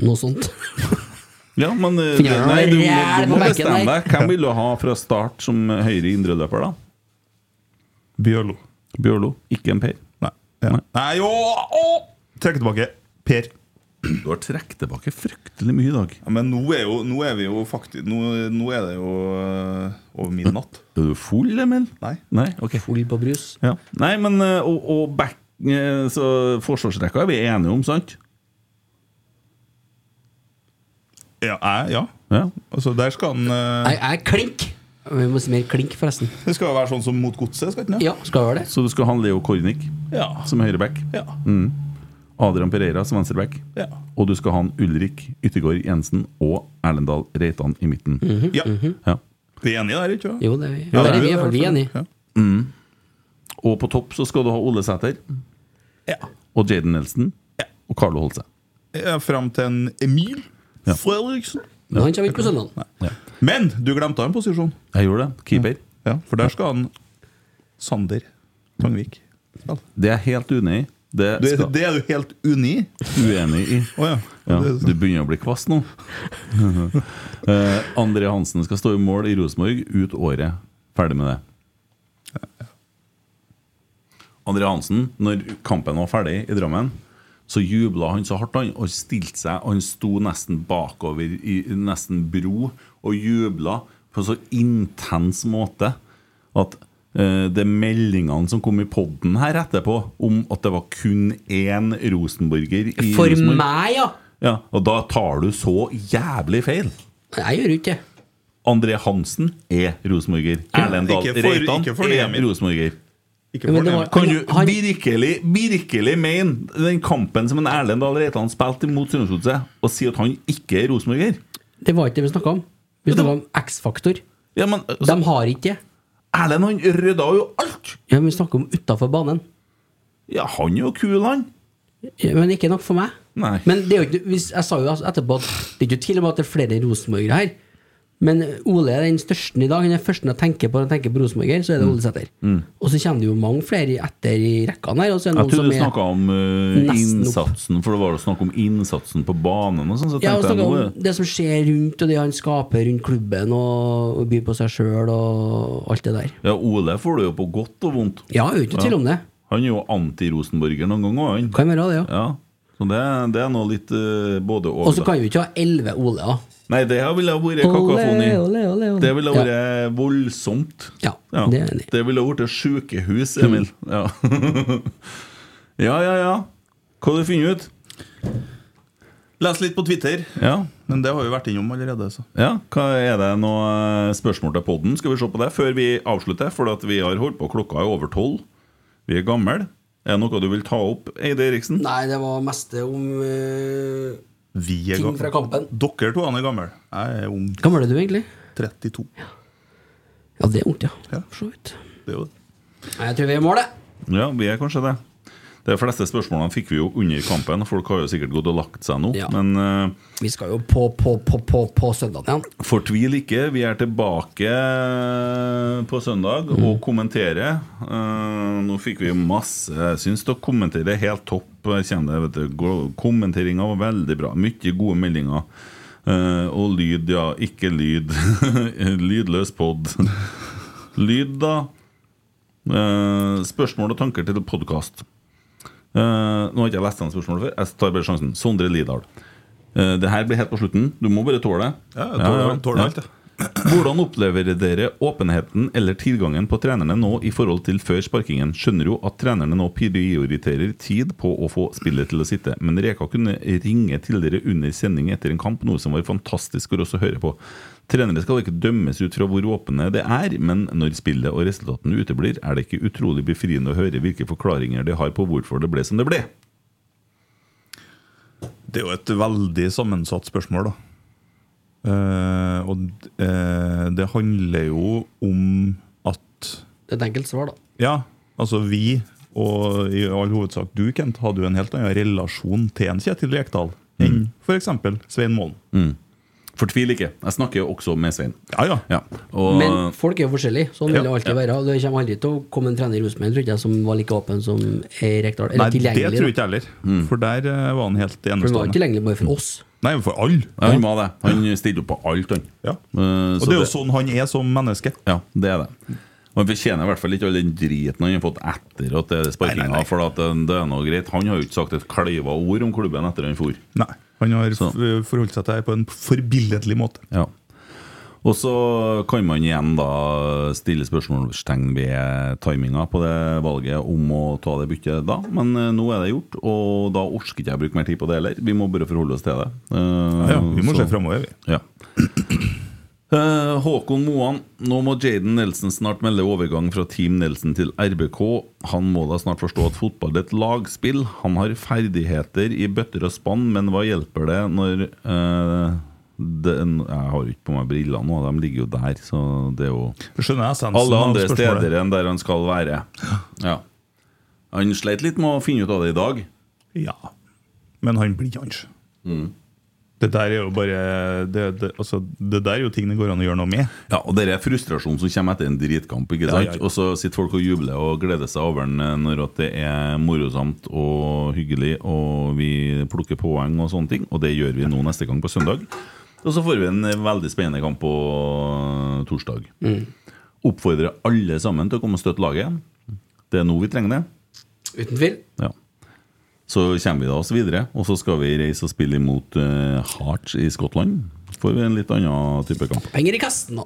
Noe sånt. Ja, men eh, Finner han nei, du, må- ræl du på må benken bestemme der. deg. Hvem vil du ha fra start som høyre indreløper, da? Bjørlo. Bjørlo, ikke en Per. Nei. Ja. Nei. Nei, jo! Å! Trekk tilbake. Per. Du har trukket tilbake fryktelig mye i dag. Ja, men nå er, jo, nå er vi jo faktisk Nå, nå er det jo eh, over midnatt. Er du full, Emil? Nei. Nei, ok Full på brus. ja. Nei, men eh, Og, og back, eh, så forsvarsrekka er vi enige om, sant? Ja, jeg, ja. Ja. Altså, der skal han eh, Jeg jeg er klink! Vi må si mer klink, forresten. Det skal jo være sånn som mot godset, skal ikke det? Ja, skal være det. Så du skal ha Leo Kornic Ja. som høyreback. Ja. Adrian Pereira som venstreback. Ja. Og du skal ha en Ulrik Yttergård Jensen og Erlendal Reitan i midten. ja. ja. Vi er enige der, ikke sant? Mhm. Jo, det er vi. Der er vi, i hvert fall. vi er enige. Ja. Og på topp så skal du ha Ole Sæter Ja. og Jaden Nelson og Carlo Holse. Ja, Fram til en Emil Ja. Fredriksen. Men han kommer ikke på søndag. Men du glemte en posisjon. Jeg gjorde det. Keeper. Ja, For der skal han Sander Tangvik. spille. Det er jeg helt uenig i. Det Du, er- skal det er du helt uenig i? uenig i. Å ja. Ja, Det er du sant. begynner å bli kvass nå. Eh, André Hansen skal stå i mål i Rosenborg ut året. Ferdig med det. André Hansen, når kampen var ferdig i Drammen, så jubla han så hardt han og stilte seg. og Han sto nesten bakover i nesten bro og jubla på så intens måte at eh, det er meldingene som kom i poden her etterpå, om at det var kun én rosenborger i For Rosenborg. meg, ja! Ja, og da tar du så jævlig feil. Jeg gjør jo ikke det. André Hansen er rosenborger. Erlend Dahl ikke for- Reitan ikke for det, er Emil. rosenborger. Ikke Men det for det, var- men- Kan du Han- virkelig, virkelig mene den kampen som en Erlend Dahl Reitan spilte imot Strømsgodset, og si at han ikke er rosenborger? Det var ikke det vi snakka om. Vi snakka om X-faktor. Ja, men altså, De har ikke det. Erlend han rydda jo alt! Ja, men vi snakker om utafor banen. Ja, han er jo kul, han. Ja, Men ikke nok for meg. Nei. Men det er jo ikke, hvis, jeg sa jo altså etterpå at det er ikke tvil om at det er flere rosenborgere her. Men Ole er den største i dag. Han er den første jeg tenker på når jeg tenker på rosenborger. Så er det Ole Sæter. Og så kommer det jo mange flere etter i rekkene her. Og så er det Jeg noen trodde du som snakka er om eh, nesten opp. innsatsen, for det var jo snakk om innsatsen på banen og sånn. Så ja, og tenkte jeg snakket nå er- om det som skjer rundt, og det han skaper rundt klubben, og, og byr på seg sjøl og alt det der. Ja, Ole får det jo på godt og vondt. Ja, det er jo ikke tvil om det. Han er jo anti-Rosenborger noen ganger òg, han. Kan være det, ja. Ja. Så det, det er nå litt eh, både og. Og så da. kan vi ikke ha elleve Ole, da. Nei, det her ville ha Ole, vært kakafoni. ole, ole, ole. Det ville Ja. ha vært voldsomt. Ja, det er jeg enig i. Det ville ha vært et sjukehus, Emil. Ja. ja, ja, ja. Hva har du funnet ut? Les litt på Twitter. Ja, Men det har vi vært innom allerede. Så. Ja, hva Er det noen spørsmål til podden? Skal vi se på det før vi avslutter? For at vi har holdt på, klokka er over tolv. Vi er gamle. Er det noe du vil ta opp, Eide Eriksen? Nei, det var meste om eh, Vi er ting gamle. fra kampen. Dere to han er gamle. Jeg er ung. Gammel er du egentlig? 32. Ja, det er ungt, ja. Ja. For så vidt. Det er jo det. Nei, jeg tror vi er i mål, jeg. Ja, vi er kanskje det. De fleste spørsmålene fikk vi jo under kampen. Folk har jo sikkert gått og lagt seg nå. Ja. Men eh, Vi skal jo på, på, på, på, på søndag igjen. Fortvil ikke, vi er tilbake eh, på søndag Mm. og kommenterer. Eh, nå fikk vi masse Jeg syns dere kommenterer helt topp. Jeg kjenner det, vet du. Kommenteringa var veldig bra. Mye gode meldinger. Eh, og lyd, ja. Ikke lyd. Lydløs pod. Lyd, da. Eh, spørsmål og tanker til podkast. nå har ikke jeg lest den spørsmålet før. Jeg tar bare sjansen. Sondre Lidahl. Eh, det her blir helt på slutten. Du må bare tåle det. Ja, jeg tåler, tåler alt, jeg. Hvordan opplever dere åpenheten eller tilgangen på trenerne nå i forhold til før sparkingen? Skjønner jo at trenerne nå prioriterer tid på å få spillet til å sitte, men Reka kunne ringe til dere under sending etter en kamp, noe som var fantastisk for oss å høre på. Trenere skal ikke dømmes ut fra hvor åpne det er, men når spillet og resultatene uteblir, er det ikke utrolig befriende å høre hvilke forklaringer de har på hvorfor det ble som det ble. Det er jo et veldig sammensatt spørsmål, da. Eh, og eh, det handler jo om at Det er et enkelt svar, da. Ja, altså vi, og i all hovedsak du, Kent, hadde jo en helt annen relasjon til en Kjetil Rekdal enn for f.eks. Svein Målen. Fortvil ikke. Jeg snakker jo også med Svein. Ja, ja. Ja, og Men folk er jo forskjellige. Sånn vil Ja, det alltid være. Og Det kommer aldri til å komme en trener i Rosenborg tror ikke jeg, som var like åpen som Eirik Dahl. Nei, Eller det tilgjengelig. tror da. jeg ikke heller. Mm. For der eh, var han helt For han var ikke enestående. tilgjengelig bare for oss. Nei, for alle. Ja, han var det. Han stilte opp på alt, han. Ja. Eh, Og så det er jo det- sånn han er som menneske. Ja, det er det. Og Han fortjener i hvert fall ikke all den driten han har fått etter at det er Nei, sparkinga. nei, nei. For at eh, det det er noe greit Han har jo ikke sagt et kleiva ord om klubben etter han for. Nei, Han har Så. f- forholdt seg til det på en forbilledlig måte. Ja. Og så kan man igjen da stille spørsmålstegn ved timinga på det valget om å ta det byttet da, men eh, nå er det gjort, og da orker ikke jeg å bruke mer tid på det heller. Vi må bare forholde oss til det. Eh, Ja, vi må så- se framover, vi. Ja. Eh, Håkon Moan, nå må Jaden Nelson snart melde overgang fra Team Nelson til RBK. Han må da snart forstå at fotball er et lagspill. Han har ferdigheter i bøtter og spann, men hva hjelper det når eh, den, Jeg har jo ikke på meg briller nå, de ligger jo der, så det er jo Skjønner jeg essensen Alle av andre spørsmålet. steder enn der han skal være. Ja. Han sleit litt med å finne ut av det i dag. Ja. Men han blir kanskje. Mm. Det der er jo bare det, det, altså, det der er jo ting det går an å gjøre noe med. Ja, og det er frustrasjon som kommer etter en dritkamp. ikke Ja, sant? ja, ja. Og så sitter folk og jubler og gleder seg over den eh, når at det er morosamt og hyggelig, og vi plukker poeng og sånne ting. Og det gjør vi nå neste gang på søndag. Og så får vi en eh, veldig spennende kamp på eh, torsdag. Mm. Oppfordrer alle sammen til å komme og støtte laget. Det er nå vi trenger det. Uten tvil. Ja. Så kommer vi da oss videre, og så skal vi reise og spille imot eh, Hearts i Skottland. Får vi en litt annen type kamp. Penger i kassen nå.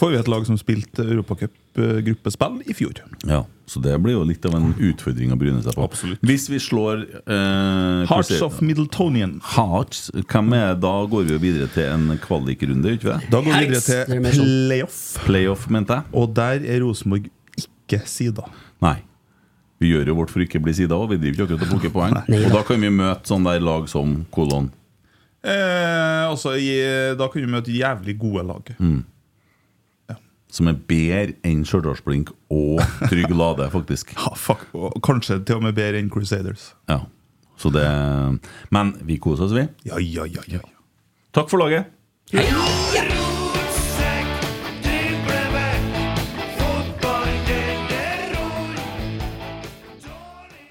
Får vi et lag som spilte Europacup-gruppespill i fjor. Ja, så det blir jo litt av en utfordring å bryne seg på. Absolutt. Hvis vi slår eh, Hearts hvordan- of Middletonian. Hearts, hvem er Da går vi jo videre til en kvalikrunde, ikke det? Da går vi videre Hearts! Det er til mer sånn. playoff. Playoff, mente jeg? Og der er Rosenborg ikke sida. Nei. Vi gjør jo vårt for ikke å bli sida òg, vi driver jo ikke akkurat og plukker poeng. Og da kan vi møte sånne der lag som kolon. Eh, altså, i- da kan vi møte jævlig gode lag. Som er bedre enn Stjørdalsblink og Trygg Lade, faktisk. Ja, fuck. Og kanskje til og med bedre enn Crusaders. Ja. Så det Men vi koser oss, vi. Ja, ja, ja, ja. Takk for laget. Rotsekk, driblevekk, fotball, den er rull. Dårlig